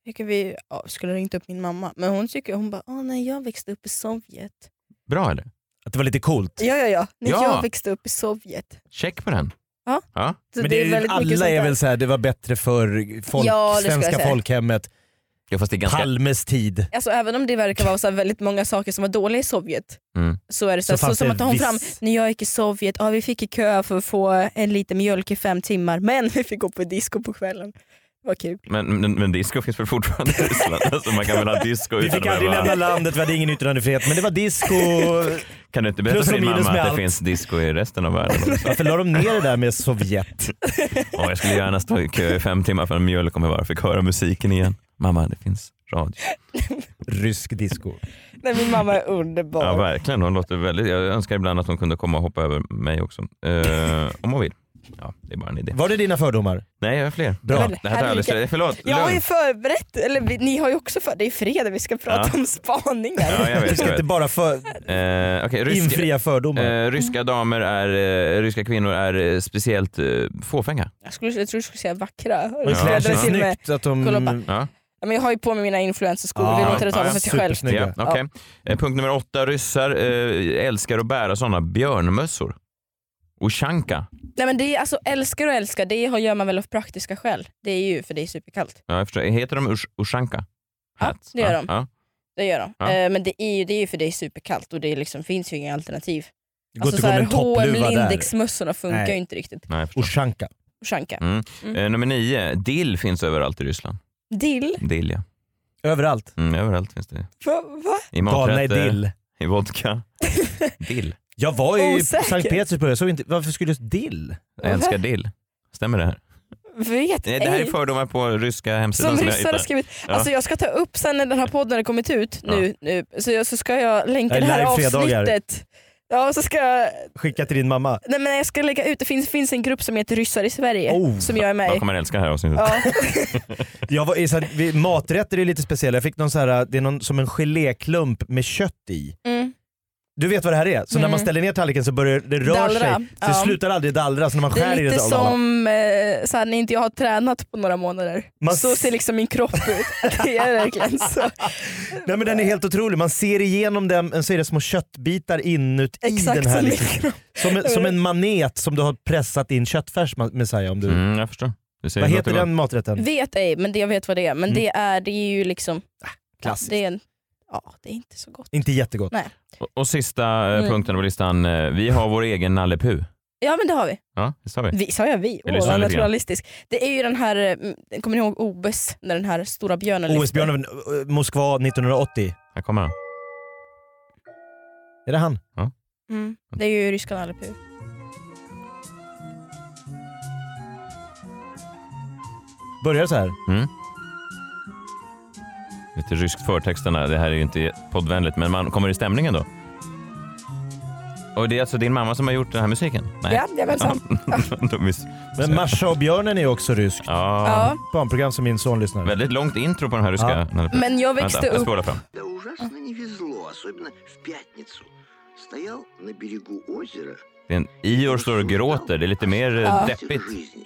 [SPEAKER 6] Tycker vi ja, skulle ringt upp min mamma, men hon tycker hon bara åh nej jag växte upp i Sovjet.
[SPEAKER 4] Bra eller?
[SPEAKER 5] Att det var lite coolt.
[SPEAKER 6] Ja ja ja, när
[SPEAKER 4] Ja.
[SPEAKER 6] jag växte upp i Sovjet.
[SPEAKER 4] Check på den.
[SPEAKER 6] Ja.
[SPEAKER 4] ja.
[SPEAKER 6] Så
[SPEAKER 5] Men det är,
[SPEAKER 6] väldigt mycket
[SPEAKER 5] alla
[SPEAKER 6] sånt
[SPEAKER 5] är
[SPEAKER 6] där.
[SPEAKER 5] väl såhär, det var bättre för folk,
[SPEAKER 6] Ja, det skulle jag
[SPEAKER 5] svenska
[SPEAKER 6] säga.
[SPEAKER 5] folkhemmet,
[SPEAKER 4] Ja, fast det är ganska...
[SPEAKER 5] Palmes tid.
[SPEAKER 6] Alltså även om det verkar vara så här väldigt många saker som var dåliga i Sovjet,
[SPEAKER 4] Mm.
[SPEAKER 6] så är det så,
[SPEAKER 5] Så
[SPEAKER 6] här, så,
[SPEAKER 5] fanns
[SPEAKER 6] som
[SPEAKER 5] det
[SPEAKER 6] att hon
[SPEAKER 5] viss-
[SPEAKER 6] fram, när jag gick i Sovjet, ja vi fick i kö för att få en liten mjölk i fem timmar, men *laughs* vi fick gå på disco på kvällen. Det var kul.
[SPEAKER 4] Men, men, men disco finns väl fortfarande i
[SPEAKER 5] *laughs*
[SPEAKER 4] Ryssland? Alltså man kan väl ha disco
[SPEAKER 5] Vi
[SPEAKER 4] utan
[SPEAKER 5] fick
[SPEAKER 4] att
[SPEAKER 5] aldrig
[SPEAKER 4] behöva-
[SPEAKER 5] lämna landet, vi hade ingen yttrandefrihet, men det var
[SPEAKER 6] *laughs*
[SPEAKER 5] disco.
[SPEAKER 4] Kan du inte berätta
[SPEAKER 5] Plus
[SPEAKER 4] för
[SPEAKER 5] och
[SPEAKER 4] din
[SPEAKER 5] minus
[SPEAKER 4] mamma
[SPEAKER 5] med
[SPEAKER 4] att det
[SPEAKER 5] allt.
[SPEAKER 4] finns disco i resten av världen?
[SPEAKER 5] Varför la de ner det där med Sovjet?
[SPEAKER 4] Åh, jag skulle gärna stå i kö i fem timmar för en mjölk om jag bara fick höra musiken igen. Mamma, det finns radio.
[SPEAKER 5] Rysk disco.
[SPEAKER 6] Nej, min mamma är underbar.
[SPEAKER 4] Ja, verkligen. Hon låter väldigt... Jag önskar ibland att hon kunde komma och hoppa över mig också. Eh, om hon vill. Ja, det är bara en idé.
[SPEAKER 5] Var det dina fördomar?
[SPEAKER 4] Nej, jag har fler.
[SPEAKER 5] Bra.
[SPEAKER 4] Det här tar jag aldrig
[SPEAKER 6] Herregud.
[SPEAKER 4] slut. Förlåt.
[SPEAKER 6] Jag har ju
[SPEAKER 4] lugn.
[SPEAKER 6] förberett, eller vi, ni har ju också för det är fredag vi ska prata
[SPEAKER 4] Ja.
[SPEAKER 6] om spaningar.
[SPEAKER 4] Ja, jag
[SPEAKER 5] Du
[SPEAKER 4] vet.
[SPEAKER 5] ska
[SPEAKER 4] Jag
[SPEAKER 5] inte
[SPEAKER 4] vet.
[SPEAKER 5] bara för,
[SPEAKER 4] Eh, okej, ryska,
[SPEAKER 5] infria fördomar.
[SPEAKER 4] eh, ryska damer är... Eh, ryska kvinnor är eh, speciellt eh, fåfänga.
[SPEAKER 6] Jag, skulle, jag tror du skulle säga vackra.
[SPEAKER 5] De
[SPEAKER 4] Ja.
[SPEAKER 5] klär
[SPEAKER 6] Jag,
[SPEAKER 5] sig
[SPEAKER 4] Ja.
[SPEAKER 6] till och med,
[SPEAKER 5] snyggt. Att
[SPEAKER 6] Kolla
[SPEAKER 5] de,
[SPEAKER 6] upp.
[SPEAKER 4] Ja.
[SPEAKER 6] ja, men jag har ju på mig mina influencerskor, det
[SPEAKER 5] Ah,
[SPEAKER 6] låter det
[SPEAKER 4] ja,
[SPEAKER 6] tala för sig själv.
[SPEAKER 5] supersnyggt. Snygga.
[SPEAKER 4] Ja, okej. Eh, Punkt nummer åtta. Ryssar eh, älskar att bära sådana björnmössor. Ushanka.
[SPEAKER 6] Nej, men det är, alltså, älskar och älskar, det har- gör man väl av praktiska skäl. Det är ju för det är superkallt.
[SPEAKER 4] Ja, jag förstår. Heter de Ush- Ushanka?
[SPEAKER 6] Ja,
[SPEAKER 4] Hats?
[SPEAKER 6] det gör
[SPEAKER 4] ja,
[SPEAKER 6] de.
[SPEAKER 4] Ja.
[SPEAKER 6] Det gör de.
[SPEAKER 4] Ja.
[SPEAKER 6] Eh, men det är ju det är ju för det är superkallt och det liksom, finns ju inga alternativ.
[SPEAKER 5] det går
[SPEAKER 6] Alltså,
[SPEAKER 5] inte
[SPEAKER 6] så
[SPEAKER 5] att gå
[SPEAKER 6] här,
[SPEAKER 5] med en
[SPEAKER 6] H&M
[SPEAKER 5] toppluva där.
[SPEAKER 6] Lindex-mössorna funkar
[SPEAKER 5] Nej.
[SPEAKER 6] ju inte riktigt.
[SPEAKER 4] Nej, jag förstår.
[SPEAKER 5] Ushanka.
[SPEAKER 6] Ushanka. Mm.
[SPEAKER 4] Eh, nummer nio. Dill finns överallt i Ryssland.
[SPEAKER 6] Dill?
[SPEAKER 4] Dill, ja.
[SPEAKER 5] Överallt.
[SPEAKER 4] Mm, överallt finns det.
[SPEAKER 6] Va? va?
[SPEAKER 4] I
[SPEAKER 5] Galna i
[SPEAKER 4] maträtter,
[SPEAKER 5] dill.
[SPEAKER 4] i vodka. Dill.
[SPEAKER 5] Jag var ju i
[SPEAKER 6] Osäker.
[SPEAKER 5] Sankt Petersburg, jag såg inte, varför skulle just dill?
[SPEAKER 4] Jag älskar dill. Stämmer det här?
[SPEAKER 6] Vet
[SPEAKER 4] Nej, det här är
[SPEAKER 6] ej.
[SPEAKER 4] fördomar på ryska hemsidan
[SPEAKER 6] Som
[SPEAKER 4] som, jag
[SPEAKER 6] ryssar har
[SPEAKER 4] hittade.
[SPEAKER 6] skrivit.
[SPEAKER 4] Ja.
[SPEAKER 6] Alltså jag ska ta upp sen när den här podden har kommit ut nu, nu så, jag, så ska jag länka
[SPEAKER 5] Är det
[SPEAKER 6] det här
[SPEAKER 5] live fredagar?
[SPEAKER 6] avsnittet. Ja, så ska jag,
[SPEAKER 5] Skicka till din mamma.
[SPEAKER 6] nej men jag ska lägga ut, det finns, finns en grupp som heter Ryssar i Sverige
[SPEAKER 5] Oh.
[SPEAKER 6] som jag är med
[SPEAKER 4] De
[SPEAKER 6] i.
[SPEAKER 4] kommer älska det här avsnittet.
[SPEAKER 6] Ja.
[SPEAKER 5] Jag var, i så här, vi- maträtter är lite speciella, jag fick någon så här, det är någon, som en geléklump med kött i.
[SPEAKER 6] Mm.
[SPEAKER 5] Du vet vad det här är? Så när man ställer ner tallriken så börjar det röra
[SPEAKER 6] Dallra,
[SPEAKER 5] sig. Så det
[SPEAKER 6] ja.
[SPEAKER 5] slutar aldrig dallra, så när man
[SPEAKER 6] Det
[SPEAKER 5] skär
[SPEAKER 6] är
[SPEAKER 5] i det
[SPEAKER 6] lite
[SPEAKER 5] dallrar.
[SPEAKER 6] som eh, så här, när inte jag har tränat på några månader.
[SPEAKER 5] Man
[SPEAKER 6] så
[SPEAKER 5] s-
[SPEAKER 6] ser liksom min kropp ut.
[SPEAKER 5] *laughs*
[SPEAKER 6] *laughs* Det är verkligen så.
[SPEAKER 5] Nej, men den är helt otrolig, man ser igenom den så är det små köttbitar inuti
[SPEAKER 6] Exakt
[SPEAKER 5] den här.
[SPEAKER 6] som min
[SPEAKER 5] liksom.
[SPEAKER 6] kropp.
[SPEAKER 5] som, en- som en manet som du har pressat in köttfärs Ma- Messiah. Om du,
[SPEAKER 4] Mm, jag förstår. Det ser
[SPEAKER 5] vad
[SPEAKER 4] gott
[SPEAKER 5] heter
[SPEAKER 4] ut.
[SPEAKER 5] den maträtten?
[SPEAKER 6] Vet ej, men det, jag vet vad det är. Men det, är, det är ju liksom,
[SPEAKER 5] Mm. Klassiskt.
[SPEAKER 6] det är, en, ja, det är inte så gott.
[SPEAKER 5] Inte jättegott.
[SPEAKER 6] Nej.
[SPEAKER 4] Och, och sista eh,
[SPEAKER 6] Mm.
[SPEAKER 4] punkten på listan. eh, Vi har vår egen Nalle Puh.
[SPEAKER 6] Ja men det har vi.
[SPEAKER 4] Ja, det sa vi.
[SPEAKER 6] Vi, sa jag vi?
[SPEAKER 4] Jag
[SPEAKER 6] Åh,
[SPEAKER 4] lyssnar
[SPEAKER 6] vad
[SPEAKER 4] lite grann.
[SPEAKER 6] naturalistisk. Det är ju den här, mm, kommer ni ihåg OBS? När den här stora björnen lyfter?
[SPEAKER 5] OS-björnen, eh, Moskva 1980.
[SPEAKER 4] Här kommer han.
[SPEAKER 5] Är det han?
[SPEAKER 6] Mm. Det är ju ryska Nalle Puh.
[SPEAKER 5] Börjar det så här?
[SPEAKER 4] Mm. Lite ryskt förtexterna. Det här är ju inte poddvänligt, men man kommer i stämningen då. Och det är alltså din mamma som har gjort den här musiken?
[SPEAKER 6] Ja, jajamensan.
[SPEAKER 4] *laughs* Då miss-
[SPEAKER 5] Men Marsha och björnen är också ryskt.
[SPEAKER 4] ja.
[SPEAKER 6] Ja.
[SPEAKER 5] Barnprogram som min son lyssnar på.
[SPEAKER 4] Väldigt långt intro på den här ryska.
[SPEAKER 5] Ja.
[SPEAKER 4] Nalle Puh.
[SPEAKER 6] Men jag
[SPEAKER 4] Vänta,
[SPEAKER 6] växte
[SPEAKER 4] jag
[SPEAKER 6] upp...
[SPEAKER 4] spolar fram.
[SPEAKER 7] Да ужасно не везло, особенно в пятницу. Стоял на берегу озера.
[SPEAKER 4] Det är en Ior står och gråter. Det är lite mer eh,
[SPEAKER 7] Да.
[SPEAKER 4] deppigt.
[SPEAKER 7] жизни.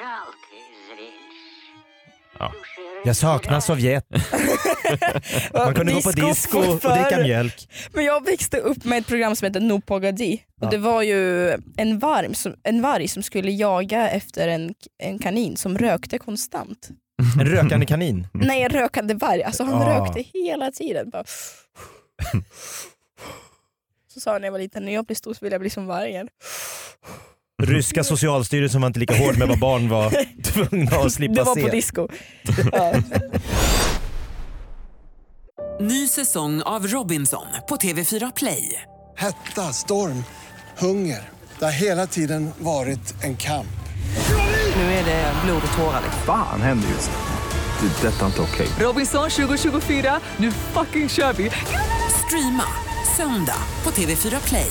[SPEAKER 8] Жалкое зрелище.
[SPEAKER 5] Jag saknar Sovjet. Man kunde gå på disco och dricka
[SPEAKER 6] förr.
[SPEAKER 5] mjölk.
[SPEAKER 6] Men jag växte upp med ett program som hette No Pogadi.
[SPEAKER 5] Ja.
[SPEAKER 6] Och det var ju en, varm som, en varg som skulle jaga efter en, en kanin som rökte konstant.
[SPEAKER 5] En rökande kanin.
[SPEAKER 6] Nej en rökande varg, alltså han
[SPEAKER 5] Mm. Ah.
[SPEAKER 6] rökte hela tiden. Bara... Så sa han när jag var liten, när jag blir stor så vill jag bli som vargen.
[SPEAKER 5] Ryska socialstyrelsen var inte lika hård med vad barn
[SPEAKER 6] *laughs*
[SPEAKER 5] var tvungna att
[SPEAKER 6] det
[SPEAKER 5] slippa
[SPEAKER 6] var på
[SPEAKER 5] se.
[SPEAKER 6] disco. Ja.
[SPEAKER 1] Ny säsong av Robinson på TV4 Play.
[SPEAKER 2] Hetta, storm, hunger. Det har hela tiden varit en kamp.
[SPEAKER 1] Nu är det blod och tårar. liksom.
[SPEAKER 3] Fan händer just det. Det är detta inte okej.
[SPEAKER 1] Robinson 2024, nu fucking kör vi! Streama söndag på TV4 Play.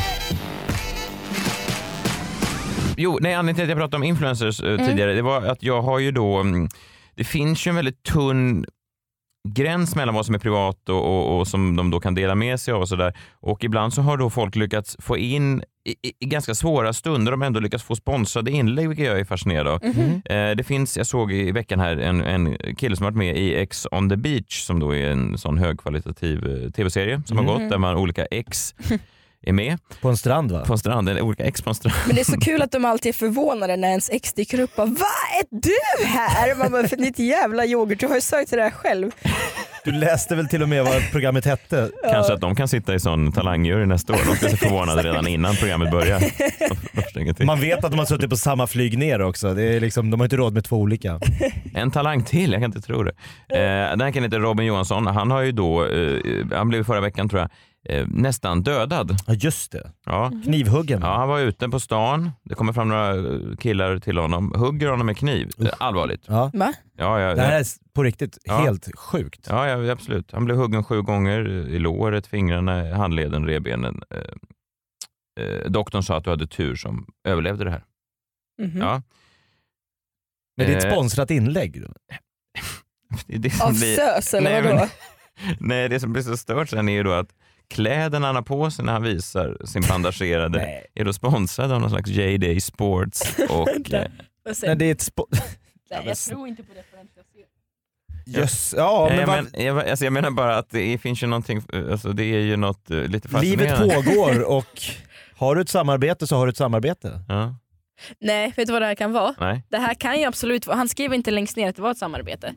[SPEAKER 4] Jo, nej, anledningen till att jag pratade om influencers eh, tidigare, det var att jag har ju då, mm, det finns ju en väldigt tunn gräns mellan vad som är privat och, och, och som de då kan dela med sig av och sådär. Och ibland så har då folk lyckats få in, i, i- i ganska svåra stunder, de har ändå lyckats få sponsrade inlägg, vilket jag är fascinerad av. Eh, det finns, jag såg i veckan här en, en kille som varit med i X on the beach, som då är en sån högkvalitativ eh, tv-serie som har gått, där man olika ex är med
[SPEAKER 5] På en strand va?
[SPEAKER 4] på en strand, eller olika ex på en strand.
[SPEAKER 6] Men det är så kul att de alltid är förvånade när ens ex dyker upp och bara, Va? Är du här? Man bara, för ditt jävla yoghurt, du har ju sökt till det här själv.
[SPEAKER 5] Du läste väl till och med vad programmet hette?
[SPEAKER 4] Kanske att de kan sitta i sån talangjury nästa år. De ska se förvånade redan innan programmet börjar. De- de förstår ingenting.
[SPEAKER 5] Man vet att de har suttit på samma flyg ner också. Det är liksom, de har inte råd med två olika.
[SPEAKER 4] En talang till, jag kan inte tro det. Eh, den här killen heter Robin Johansson. Han har ju då, eh, han blev förra veckan tror jag, eh, nästan dödad.
[SPEAKER 5] Ja just det.
[SPEAKER 4] Ja.
[SPEAKER 6] Mm-hmm.
[SPEAKER 5] Knivhuggen.
[SPEAKER 4] Ja, han var ute på stan. Det kommer fram några eh, killar till honom, hugger honom med kniv. Eh, Allvarligt.
[SPEAKER 5] Ja.
[SPEAKER 6] Va?
[SPEAKER 4] Ja, ja,
[SPEAKER 5] Det här
[SPEAKER 4] ja.
[SPEAKER 5] är på riktigt
[SPEAKER 4] Ja.
[SPEAKER 5] helt sjukt.
[SPEAKER 4] Ja, ja, absolut. Han blev huggen sju gånger eh, i låret, fingrarna, handleden, revbenen. Eh, eh, doktorn sa att du hade tur som överlevde det här.
[SPEAKER 6] Mhm.
[SPEAKER 4] Ja.
[SPEAKER 5] Men det är ett
[SPEAKER 4] Eh,
[SPEAKER 5] sponsrat inlägg.
[SPEAKER 4] Det är det som
[SPEAKER 6] Av
[SPEAKER 4] blir,
[SPEAKER 6] sös
[SPEAKER 4] Nej,
[SPEAKER 6] eller vadå?
[SPEAKER 4] men- nej, det som blir så stört sen är ju då att kläderna han har på sig när han visar sin bandagerade
[SPEAKER 5] Nej.
[SPEAKER 4] är då sponsrade av någon slags JD
[SPEAKER 6] *laughs*
[SPEAKER 4] Sports och eh,
[SPEAKER 6] Vad säger
[SPEAKER 5] Nej, det är ett *laughs* spo-
[SPEAKER 6] Nej, jag tror inte på det förrän jag ser.
[SPEAKER 5] Jöss. Ja,
[SPEAKER 4] nej,
[SPEAKER 5] men
[SPEAKER 4] jag,
[SPEAKER 5] vad-
[SPEAKER 4] men, jag, alltså jag menar bara att det är, finns ju någonting, eh, alltså det är ju något eh, lite fascinerande.
[SPEAKER 5] livet pågår och har du ett samarbete så har du ett samarbete.
[SPEAKER 4] Ja,
[SPEAKER 6] Nej, vet du vad det här kan vara?
[SPEAKER 4] nej,
[SPEAKER 6] Det här kan ju absolut vara, han skriver inte längst ner att det var ett samarbete. Eh,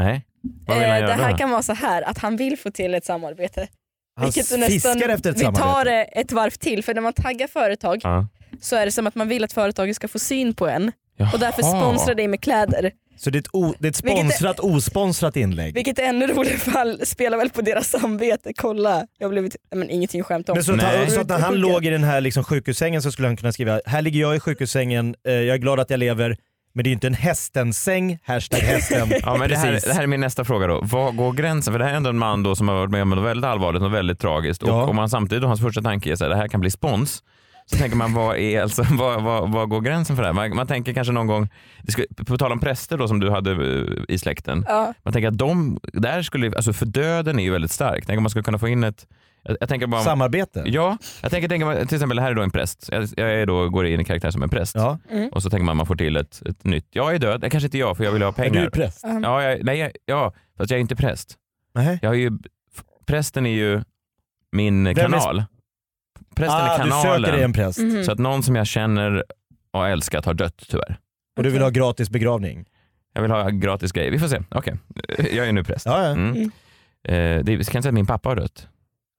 [SPEAKER 4] nej. Vad vill han
[SPEAKER 6] det
[SPEAKER 4] göra
[SPEAKER 6] här
[SPEAKER 4] då?
[SPEAKER 6] kan vara så här att han vill få till ett samarbete.
[SPEAKER 5] Han
[SPEAKER 6] Vilket är
[SPEAKER 5] fiskar efter ett
[SPEAKER 6] vi tar
[SPEAKER 5] samarbete.
[SPEAKER 6] det ett varv till, för när man taggar företag
[SPEAKER 4] Ja.
[SPEAKER 6] så är det som att man vill att företaget ska få syn på en och därför
[SPEAKER 4] Jaha.
[SPEAKER 6] sponsrar dig med kläder.
[SPEAKER 5] Så det är ett, o- det är ett
[SPEAKER 6] Vilket är-
[SPEAKER 5] sponsrat osponsrat inlägg.
[SPEAKER 6] Vilket är ännu roligare fall spelar väl på deras samvete. Kolla, jag har blivit, nej, men ingenting skämt om.
[SPEAKER 5] Men så, att han-
[SPEAKER 4] Nej.
[SPEAKER 5] så att när han
[SPEAKER 6] Sjuka.
[SPEAKER 5] låg i den här liksom sjukhussängen så skulle han kunna skriva “Här ligger jag i sjukhussängen, eh, jag är glad att jag lever, men det är ju inte en hästen-säng, hashtag hästen”.
[SPEAKER 4] *laughs* Ja, men det, här,
[SPEAKER 5] Precis.
[SPEAKER 4] det här är min nästa fråga då. Var går gränsen? För det här är ändå en man då som har varit med om något väldigt allvarligt och väldigt tragiskt.
[SPEAKER 5] Ja.
[SPEAKER 4] Och om man samtidigt, då hans första tanke är så här, det här kan bli spons. Så tänker man, vad är, alltså, *laughs* vad, vad, vad går gränsen för det här? Man, man tänker kanske någon gång, det skulle, på tal om präster då som du hade eh, i släkten.
[SPEAKER 6] Ja.
[SPEAKER 4] Man tänker att de, där skulle, alltså för döden är ju väldigt stark. Tänk om man skulle kunna få in ett, jag, jag tänker bara om,
[SPEAKER 5] Samarbete.
[SPEAKER 4] Ja, jag tänker, tänker till exempel, här är då en präst. Jag, jag är då, går in i karaktär som en präst.
[SPEAKER 5] Ja.
[SPEAKER 4] Och så tänker man man får till ett, ett nytt, jag är död, det kanske inte jag för jag vill ha
[SPEAKER 5] Är
[SPEAKER 4] pengar.
[SPEAKER 5] du präst?
[SPEAKER 6] Um,
[SPEAKER 4] Ja, jag, nej, jag, ja, fast jag är inte präst.
[SPEAKER 5] Nej.
[SPEAKER 4] Jag är ju, f- prästen är ju min
[SPEAKER 5] är-
[SPEAKER 4] kanal. Prästen är
[SPEAKER 5] Ah, du
[SPEAKER 4] kanalen.
[SPEAKER 5] söker dig en präst
[SPEAKER 6] Mhm.
[SPEAKER 4] Så att någon som jag känner och har älskat har dött tyvärr.
[SPEAKER 5] och du vill ha gratis begravning.
[SPEAKER 4] Jag vill ha gratis grejer. Vi får se. Okej, *laughs* jag är nu präst.
[SPEAKER 5] Ja, ja.
[SPEAKER 4] Mm. Eh, det, vi kan säga att min pappa har dött.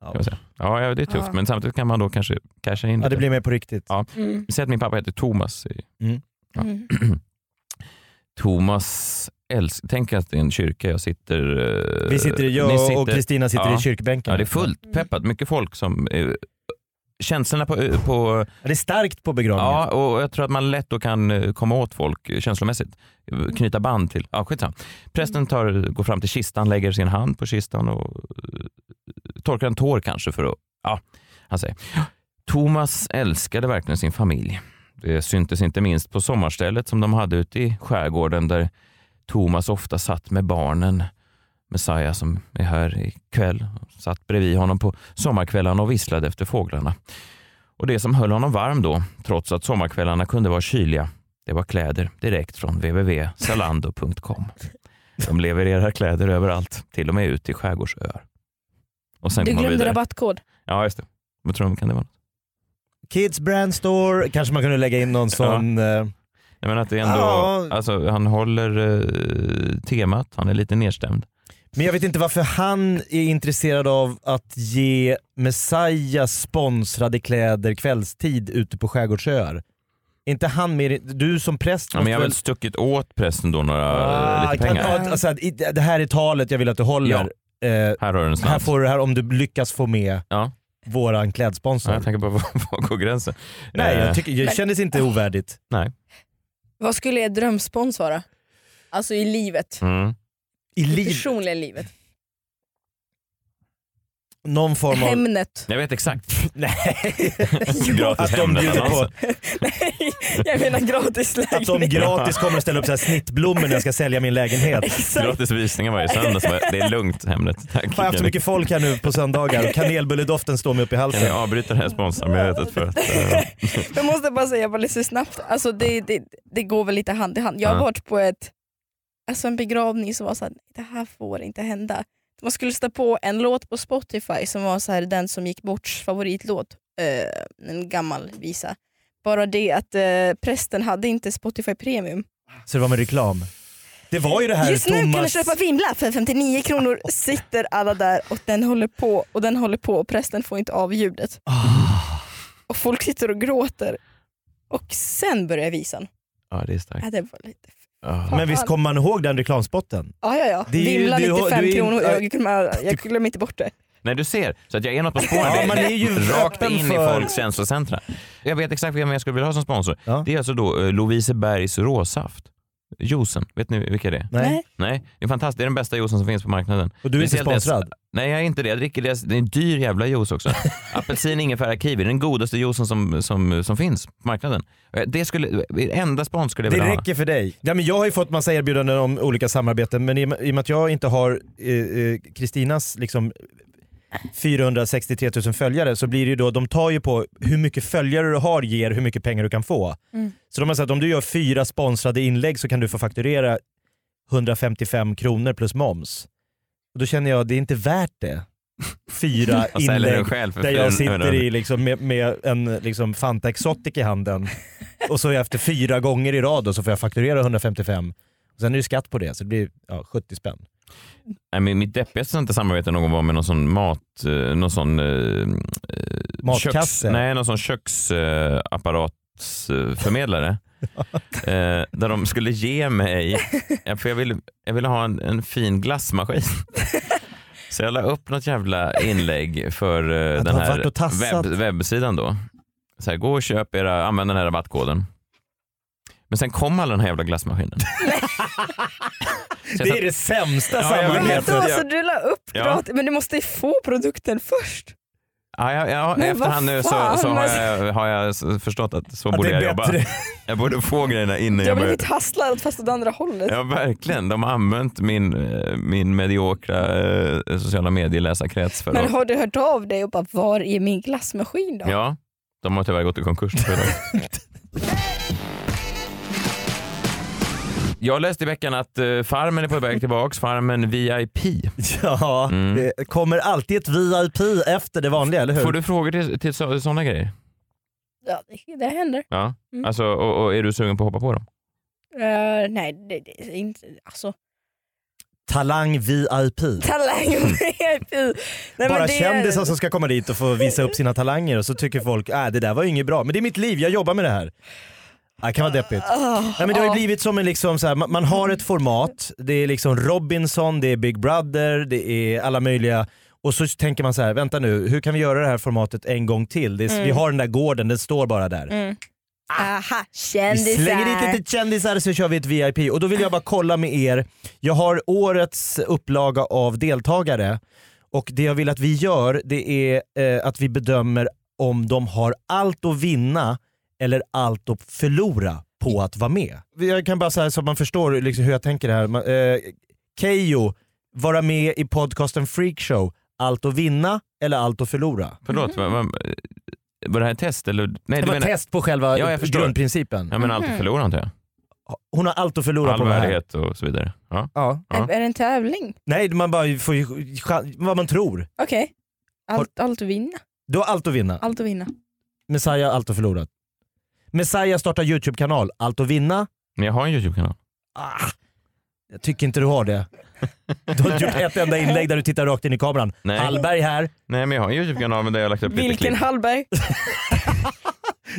[SPEAKER 4] Kan man säga. Ja, ja, det är tufft.
[SPEAKER 6] Ja.
[SPEAKER 4] Men samtidigt kan man då kanske casha in
[SPEAKER 5] Ja, det
[SPEAKER 4] lite.
[SPEAKER 5] blir mer på riktigt.
[SPEAKER 4] Ja.
[SPEAKER 6] Mm.
[SPEAKER 4] Säg att min pappa heter Thomas. Ja.
[SPEAKER 6] Mm.
[SPEAKER 4] Thomas älsk... Tänk att det är en kyrka jag sitter... eh,
[SPEAKER 5] Vi sitter,
[SPEAKER 4] ni
[SPEAKER 5] jag och
[SPEAKER 4] sitter-
[SPEAKER 5] Kristina sitter
[SPEAKER 4] Ja.
[SPEAKER 5] i kyrkbänken.
[SPEAKER 4] Ja, det är fullt peppat. Mycket folk som är eh, känslorna på, eh, på
[SPEAKER 5] Det är starkt på begravningen.
[SPEAKER 4] Ja, och jag tror att man lätt då kan eh, komma åt folk eh, känslomässigt. Eh, Knyta band till. Ja, skitsamma. Prästen tar, går fram till kistan, lägger sin hand på kistan och eh, torkar en tår kanske för att... Ja, han säger. Thomas älskade verkligen sin familj. Det syntes inte minst på sommarstället som de hade ute i skärgården där Thomas ofta satt med barnen. Messiah som är här ikväll satt bredvid honom på sommarkvällarna och visslade efter fåglarna. Och det som höll honom varm då, trots att sommarkvällarna kunde vara kyliga, det var kläder direkt från www.zalando.com. De levererar kläder överallt, till och med ut till skärgårdsöar. Och sen
[SPEAKER 6] Du
[SPEAKER 4] går man
[SPEAKER 6] glömde
[SPEAKER 4] vidare.
[SPEAKER 6] rabattkod.
[SPEAKER 4] Ja, just det. Vad tror du kan det vara?
[SPEAKER 5] Kids Brand Store, kanske man kunde lägga in någon sån... eh,
[SPEAKER 4] Jag menar att det är ändå,
[SPEAKER 5] Ja.
[SPEAKER 4] alltså, han håller eh, temat, han är lite nedstämd.
[SPEAKER 5] Men jag vet inte varför han är intresserad av att ge Messiah sponsrade kläder kvällstid ute på skärgårdsöar. Är inte han mer... Du som präst
[SPEAKER 4] Ja, men jag har väl stuckit åt prästen då några eh, lite
[SPEAKER 5] kan-
[SPEAKER 4] pengar.
[SPEAKER 5] ja, alltså, i- det här är talet jag vill att du håller. Eh,
[SPEAKER 4] Här har du en
[SPEAKER 5] här
[SPEAKER 4] slant.
[SPEAKER 5] får du det här om du lyckas få med
[SPEAKER 4] Ja.
[SPEAKER 5] våran
[SPEAKER 4] Ja,
[SPEAKER 5] klädsponsor.
[SPEAKER 4] jag tänker bara, *laughs* var, var går gränsen?
[SPEAKER 5] Nej,
[SPEAKER 4] Eh,
[SPEAKER 5] jag tycker, jag
[SPEAKER 6] Men-
[SPEAKER 5] kändes inte ovärdigt.
[SPEAKER 6] Vad skulle er drömspons vara? Alltså i livet.
[SPEAKER 4] mm.
[SPEAKER 5] I
[SPEAKER 6] I
[SPEAKER 5] liv,
[SPEAKER 6] personliga livet.
[SPEAKER 5] någon form av...
[SPEAKER 6] Hemnet.
[SPEAKER 4] Jag vet exakt.
[SPEAKER 5] *laughs* Nej,
[SPEAKER 4] *laughs* Gratis Alltså,
[SPEAKER 5] att de bjuder på,
[SPEAKER 4] Hemnet-annonsen.
[SPEAKER 6] Nej, jag menar gratis
[SPEAKER 5] att
[SPEAKER 6] *laughs*
[SPEAKER 5] de
[SPEAKER 6] lägenhet.
[SPEAKER 5] gratis kommer att ställa upp så här snittblommor när jag ska sälja min lägenhet.
[SPEAKER 6] Exakt.
[SPEAKER 4] Gratis visningar varje söndag. Så bara, det är lugnt Hemnet. Tack.
[SPEAKER 5] Fan, jag har haft så mycket folk här nu på söndagar och kanelbulledoften står mig upp i
[SPEAKER 4] Kan vi
[SPEAKER 5] halsen.
[SPEAKER 4] avbryta det här sponsormötet för att...
[SPEAKER 5] *laughs*
[SPEAKER 4] eh,
[SPEAKER 6] Jag måste bara säga bara lite snabbt, alltså det, det, det går väl lite hand i hand. Jag har
[SPEAKER 4] Ja.
[SPEAKER 6] varit på ett, alltså en begravning som var såhär, det här får inte hända. Man skulle sätta på en låt på Spotify som var så här, den som gick borts favoritlåt, eh, en gammal visa. Bara det att eh, prästen hade inte Spotify Premium.
[SPEAKER 5] Så det var med reklam. Det var ju det här
[SPEAKER 6] Just nu kan du
[SPEAKER 5] Thomas...
[SPEAKER 6] köpa vimla för 59
[SPEAKER 5] *laughs*
[SPEAKER 6] kronor. Sitter alla där och den håller på och den håller på och prästen får inte av ljudet.
[SPEAKER 5] Ah.
[SPEAKER 6] Och folk sitter och gråter. Och sen börjar visan.
[SPEAKER 4] Ja, det är starkt. Ah.
[SPEAKER 6] Ja, det var lite...
[SPEAKER 4] Ja.
[SPEAKER 5] Men visst kommer man ihåg den reklamspotten?
[SPEAKER 6] Ja, ja, ja.
[SPEAKER 5] Det är ju-
[SPEAKER 6] Vimla
[SPEAKER 5] det är ju-
[SPEAKER 6] 95
[SPEAKER 5] du är ju-
[SPEAKER 6] kronor. Jag, glömmer- jag glömmer inte bort det.
[SPEAKER 4] Nej, du ser. Så att jag är något på spåren.
[SPEAKER 5] Ja, man är ju
[SPEAKER 4] Rakt
[SPEAKER 5] öppen
[SPEAKER 4] in i
[SPEAKER 5] för-
[SPEAKER 4] folks känslocentra. Jag vet exakt vem jag skulle vilja ha som sponsor.
[SPEAKER 5] Ja.
[SPEAKER 4] Det är alltså då eh, Lovisebergs råsaft. Juicen. Vet ni vilka det är?
[SPEAKER 6] Nej.
[SPEAKER 4] Nej, det är fantastiskt. Det är den bästa juicen som finns på marknaden.
[SPEAKER 5] Och du är
[SPEAKER 4] Men
[SPEAKER 5] inte
[SPEAKER 4] det är deras-
[SPEAKER 5] sponsrad?
[SPEAKER 4] Nej, jag är inte det. Jag dricker deras, det är en dyr jävla juice
[SPEAKER 5] *laughs*
[SPEAKER 4] också. Apelsin, ingefära, kiwi. Det är den godaste juicen som, som, som finns på marknaden. Eh, Det skulle, enda spons skulle jag
[SPEAKER 5] Det
[SPEAKER 4] vilja ha.
[SPEAKER 5] räcker för dig. Ja, men jag har ju fått massa erbjudanden om olika samarbeten men i, i och med att jag inte har eh, eh, Kristinas liksom 463 000 följare så blir det ju då, de tar ju på hur mycket följare du har ger hur mycket pengar du kan få. Så de har sagt om du gör fyra sponsrade inlägg så kan du få fakturera 155 kronor plus moms. Och då känner jag det är inte värt det. Fyra
[SPEAKER 4] *laughs* Jag säljer den
[SPEAKER 5] inlägg
[SPEAKER 4] själv för
[SPEAKER 5] där jag
[SPEAKER 4] 400.
[SPEAKER 5] sitter i liksom med, med en liksom Fanta Exotic
[SPEAKER 4] *laughs*
[SPEAKER 5] i handen och så efter fyra gånger i rad då, så får jag fakturera 155. Och sen är det skatt på det så det blir ja, 70 spänn.
[SPEAKER 4] Nej, men mitt deppigaste sånt där samarbete någon gång var med någon sån mat... eh, Någon sån... eh, Köks,
[SPEAKER 5] Matkasse.
[SPEAKER 4] nej, någon sån
[SPEAKER 5] *laughs*
[SPEAKER 4] köksapparatsförmedlare. eh, där de skulle ge mig, ja, för jag ville, jag ville ha en, en fin
[SPEAKER 5] *laughs*
[SPEAKER 4] glassmaskin. Så jag la upp något jävla inlägg för eh,
[SPEAKER 5] Att
[SPEAKER 4] den
[SPEAKER 5] ha varit
[SPEAKER 4] här
[SPEAKER 5] och tassat.
[SPEAKER 4] webb, webbsidan då. Så här, gå och köp era, använd den här rabattkoden. Men sen kom all den här jävla
[SPEAKER 5] *laughs*
[SPEAKER 4] glassmaskinen. Så jag
[SPEAKER 5] Det är
[SPEAKER 4] satt-
[SPEAKER 5] det sämsta
[SPEAKER 4] Ja,
[SPEAKER 6] Men
[SPEAKER 4] jag
[SPEAKER 5] samarbetet.
[SPEAKER 4] vet.
[SPEAKER 6] då, så du la upp
[SPEAKER 4] Ja.
[SPEAKER 6] gratis, men du måste ju få produkten först.
[SPEAKER 4] Ja, ja, ja
[SPEAKER 6] Men
[SPEAKER 4] efterhand
[SPEAKER 6] vad
[SPEAKER 4] nu så,
[SPEAKER 6] fan,
[SPEAKER 4] så har,
[SPEAKER 6] alltså.
[SPEAKER 4] jag, har jag s- förstått att så
[SPEAKER 5] Att
[SPEAKER 4] borde
[SPEAKER 5] det är
[SPEAKER 4] jag jobba.
[SPEAKER 5] bättre.
[SPEAKER 4] Jag borde få grejerna innan
[SPEAKER 6] Jag
[SPEAKER 4] jag
[SPEAKER 6] blev
[SPEAKER 4] börjar.
[SPEAKER 6] lite hasslad fast åt andra hållet.
[SPEAKER 4] Ja verkligen, de har använt min, eh, min mediokra eh, sociala medieläsarkrets för
[SPEAKER 6] Men
[SPEAKER 4] att...
[SPEAKER 6] har du hört av dig och bara var är min glassmaskin då?
[SPEAKER 4] Ja, de har tyvärr gått i konkurs. För dem. Jag läste i veckan att eh, Farmen är på väg tillbaks, Farmen VIP.
[SPEAKER 5] *laughs* Ja,
[SPEAKER 4] Mm.
[SPEAKER 5] det kommer alltid ett VIP efter det vanliga, eller hur?
[SPEAKER 4] Får du frågor till, till sådana grejer?
[SPEAKER 6] Ja, det, det händer.
[SPEAKER 4] Ja.
[SPEAKER 6] Mm.
[SPEAKER 4] Alltså, och, och är du sugen på att hoppa på dem?
[SPEAKER 6] Eh, nej, det, det, är inte, alltså
[SPEAKER 5] Talang VIP. *laughs*
[SPEAKER 6] talang VIP. Nej, men
[SPEAKER 5] Bara
[SPEAKER 6] det-
[SPEAKER 5] kändisar som ska komma dit och få visa upp sina talanger och så tycker folk äh, det där var ju inget bra. Men det är mitt liv, jag jobbar med det här. Det kan vara deppigt.
[SPEAKER 6] Ah,
[SPEAKER 5] Nej, men det har ju
[SPEAKER 6] ah.
[SPEAKER 5] blivit som en liksom så här, man, man har ett format, det är liksom Robinson, det är Big Brother, det är alla möjliga Och så tänker man så här, vänta nu, hur kan vi göra det här formatet en gång till? Det är,
[SPEAKER 6] Mm.
[SPEAKER 5] Vi har den där gården, den står bara där.
[SPEAKER 6] Aha,
[SPEAKER 5] Ah, Vi slänger dit
[SPEAKER 6] kändisar.
[SPEAKER 5] lite kändisar så kör vi ett VIP. Och då vill jag bara kolla med er. Jag har årets upplaga av deltagare och det jag vill att vi gör det är eh, att vi bedömer om de har allt att vinna eller allt att förlora på att vara med. Jag kan bara säga så att man förstår liksom hur jag tänker här. Man, eh, Keyyo, vara med i podcasten Freakshow. Allt att vinna eller allt att förlora?
[SPEAKER 4] Förlåt, va- va- var det här ett test? Eller? Nej,
[SPEAKER 5] Det
[SPEAKER 4] du
[SPEAKER 5] var
[SPEAKER 4] menar,
[SPEAKER 5] test på själva
[SPEAKER 4] Ja, jag förstår.
[SPEAKER 5] grundprincipen.
[SPEAKER 4] jag menar alltid förlora antar jag.
[SPEAKER 5] Hon har allt att förlora
[SPEAKER 4] All
[SPEAKER 5] på det här.
[SPEAKER 4] värdighet och så vidare. Ja.
[SPEAKER 5] Ja.
[SPEAKER 4] Ja.
[SPEAKER 6] Är, är det en tävling?
[SPEAKER 5] Nej, man bara får ju chan- vad man tror.
[SPEAKER 6] Okej. Allt, allt att vinna.
[SPEAKER 5] Du har allt att vinna.
[SPEAKER 6] Allt att vinna.
[SPEAKER 5] Messiah har allt att förlora. Messiah startar YouTube-kanal. Allt att vinna?
[SPEAKER 4] Men jag har en YouTube-kanal.
[SPEAKER 5] Ah, jag tycker inte du har det. Du har inte gjort ett enda inlägg där du tittar rakt in i kameran.
[SPEAKER 4] Nej.
[SPEAKER 5] Hallberg här,
[SPEAKER 4] Nej, men jag har en YouTube-kanal men där jag har lagt upp lite
[SPEAKER 6] Vilken
[SPEAKER 4] klipp.
[SPEAKER 6] Hallberg?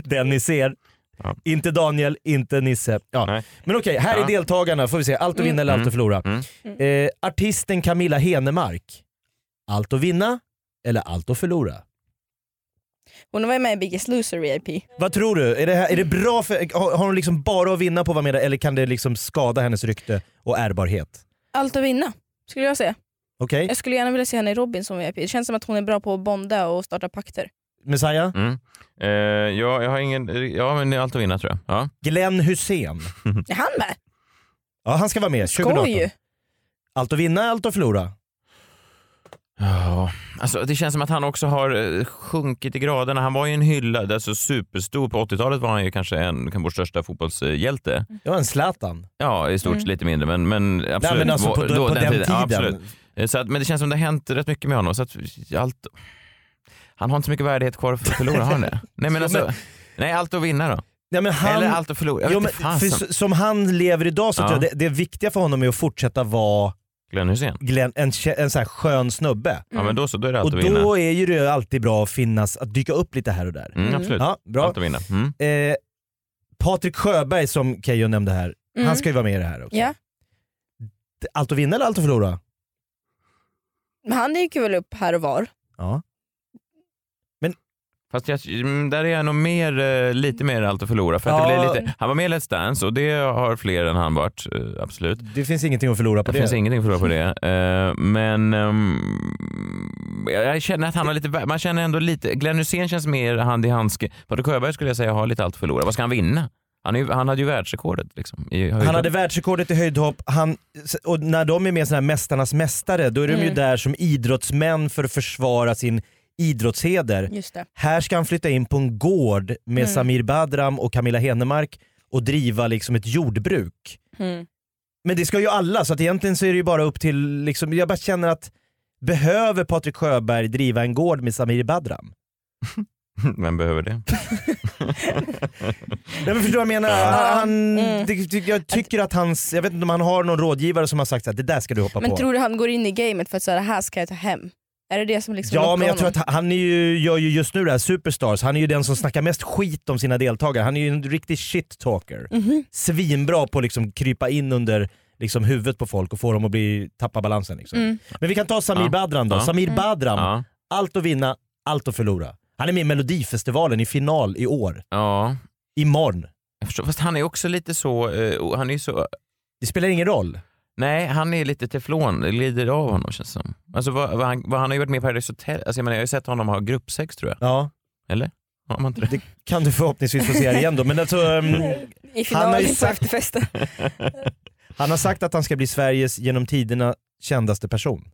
[SPEAKER 5] den ni ser.
[SPEAKER 4] Ja.
[SPEAKER 5] Inte Daniel, inte Nisse. Ja.
[SPEAKER 4] Nej.
[SPEAKER 5] Men okej, här
[SPEAKER 4] Ja.
[SPEAKER 5] är deltagarna. Får vi se. Allt att vinna eller allt att förlora.
[SPEAKER 4] Mm.
[SPEAKER 5] Eh, artisten Camilla Henemark. Allt att vinna eller allt att förlora?
[SPEAKER 6] Hon var ju med i Biggest Loser VIP.
[SPEAKER 5] Vad tror du? Är det, här, är det bra för, har, har hon liksom bara att vinna på att vara med där, eller kan det liksom skada hennes rykte och ärbarhet?
[SPEAKER 6] Allt att vinna, skulle jag säga.
[SPEAKER 5] Okej,
[SPEAKER 6] Jag skulle gärna vilja se henne i Robinson VIP. Det känns som att hon är bra på att bonda och starta pakter.
[SPEAKER 5] Messiah?
[SPEAKER 4] Mm. Eh, ja, jag har ingen... Ja, men det är allt att vinna tror jag. Ja.
[SPEAKER 5] Glenn Hussein.
[SPEAKER 6] Är han med?
[SPEAKER 5] Ja, han ska vara med 2018.
[SPEAKER 6] Skoj ju!
[SPEAKER 5] Allt att vinna, allt att förlora.
[SPEAKER 4] Ja, alltså det känns som att han också har eh, sjunkit i graderna. Han var ju en hyllad, alltså superstor. På 80-talet var han ju kanske en, kan vår största fotbollshjälte.
[SPEAKER 5] Det var en Zlatan.
[SPEAKER 4] Ja, i stort lite mindre, men, men absolut.
[SPEAKER 5] Nej, men alltså på,
[SPEAKER 4] Vår-
[SPEAKER 5] på den,
[SPEAKER 4] Ja,
[SPEAKER 5] tiden.
[SPEAKER 4] absolut. Eh, Så att, men det känns som det har hänt rätt mycket med honom. Så att allt... Han har inte så mycket värdighet kvar för att förlora, har han
[SPEAKER 5] *laughs*
[SPEAKER 4] det? Nej, men alltså... Nej, allt att vinna då.
[SPEAKER 5] Nej, men han,
[SPEAKER 4] Eller allt att förlora. Jag
[SPEAKER 5] jo,
[SPEAKER 4] vet
[SPEAKER 5] men,
[SPEAKER 4] inte
[SPEAKER 5] för,
[SPEAKER 4] fasen.
[SPEAKER 5] s- som han lever idag så
[SPEAKER 4] Ja.
[SPEAKER 5] tror jag det, det viktiga för honom är att fortsätta vara
[SPEAKER 4] Glenn Hysén.
[SPEAKER 5] Glenn, en, kä- en så här skön snubbe.
[SPEAKER 4] Ja, men då så. Då är det allt
[SPEAKER 5] Och
[SPEAKER 4] att vinna.
[SPEAKER 5] då är ju det alltid bra att finnas, att dyka upp lite här och där.
[SPEAKER 4] Mm, absolut.
[SPEAKER 5] Ja, bra.
[SPEAKER 4] Allt att vinna. Mm.
[SPEAKER 5] Eh, Patrik Sjöberg som Keyyo nämnde här,
[SPEAKER 6] Mm.
[SPEAKER 5] han ska ju vara med i det här också.
[SPEAKER 6] Ja.
[SPEAKER 5] Allt att vinna eller allt att förlora?
[SPEAKER 6] Men han dyker väl upp här och var.
[SPEAKER 5] Ja.
[SPEAKER 4] Fast jag, mm, där är jag nog mer, eh, lite mer allt att förlora. För att
[SPEAKER 5] Ja.
[SPEAKER 4] det blir lite, han var med i Let's Dance och det har fler än han varit, eh, absolut.
[SPEAKER 5] Det finns ingenting att förlora på
[SPEAKER 4] Det
[SPEAKER 5] det.
[SPEAKER 4] finns ingenting att förlora på det. Eh, Men ehm, jag jag känner att han har lite, vä- man känner ändå lite, Glenn Hysén känns mer hand i handske. Patrik Sjöberg skulle jag säga har lite allt att förlora. Vad ska han vinna? Han, är, ju- han hade ju världsrekordet liksom, i höjdhopp.
[SPEAKER 5] han hade världsrekordet i höjdhopp, han, och när de är med i såna här Mästarnas Mästare då är de
[SPEAKER 6] Mm.
[SPEAKER 5] ju där som idrottsmän för att försvara sin idrottsheder.
[SPEAKER 6] Just det.
[SPEAKER 5] Här ska han flytta in på en gård med
[SPEAKER 6] Mm.
[SPEAKER 5] Samir Badram och Camilla Henemark och driva liksom ett jordbruk.
[SPEAKER 6] Mm.
[SPEAKER 5] Men det ska ju alla, så att egentligen så är det ju bara upp till, liksom, jag bara känner att behöver Patrik Sjöberg driva en gård med Samir Badram?
[SPEAKER 4] *laughs* Vem behöver det?
[SPEAKER 5] Nej men förstår du vad jag menar? Han, han,
[SPEAKER 6] Mm.
[SPEAKER 5] det, det- jag tycker att hans, jag vet inte om han har någon rådgivare som har sagt att det där ska du hoppa
[SPEAKER 6] Men
[SPEAKER 5] på.
[SPEAKER 6] tror du han går in i gamet för att säga det här ska jag ta hem? Är det det som liksom
[SPEAKER 5] Ja
[SPEAKER 6] lockar
[SPEAKER 5] men jag tror
[SPEAKER 6] honom?
[SPEAKER 5] att han- han är ju, gör ju just nu det här Superstars, han är ju den som snackar mest skit om sina deltagare. Han är ju en riktig shit-talker.
[SPEAKER 6] Mm. Mhm.
[SPEAKER 5] Svinbra på att liksom krypa in under liksom huvudet på folk och få dem att bli, tappa balansen. Liksom.
[SPEAKER 6] Mm.
[SPEAKER 5] Men vi kan ta Samir
[SPEAKER 4] Ja.
[SPEAKER 5] Badran då.
[SPEAKER 4] Ja.
[SPEAKER 5] Samir Badran,
[SPEAKER 4] Ja.
[SPEAKER 5] allt att vinna, allt att förlora. Han är med i Melodifestivalen i final i år,
[SPEAKER 4] ja.
[SPEAKER 5] imorgon.
[SPEAKER 4] Jag förstår. Fast han är också lite så, eh, och han är ju så
[SPEAKER 5] Det spelar ingen roll.
[SPEAKER 4] Nej, han är lite teflon. Det glider av honom känns det som. Alltså, vad, vad han, vad han har ju varit med i Paradise Hotel. Alltså, jag, menar, jag har ju sett honom ha gruppsex tror jag.
[SPEAKER 5] Ja,
[SPEAKER 4] Har man inte det?
[SPEAKER 5] det kan du förhoppningsvis få se här igen då. Men alltså,
[SPEAKER 6] *laughs*
[SPEAKER 5] ehm,
[SPEAKER 6] I
[SPEAKER 5] Han har ju
[SPEAKER 6] finalen på
[SPEAKER 5] sagt-
[SPEAKER 6] efterfesten.
[SPEAKER 5] Han har sagt att han ska bli Sveriges genom tiderna kändaste person.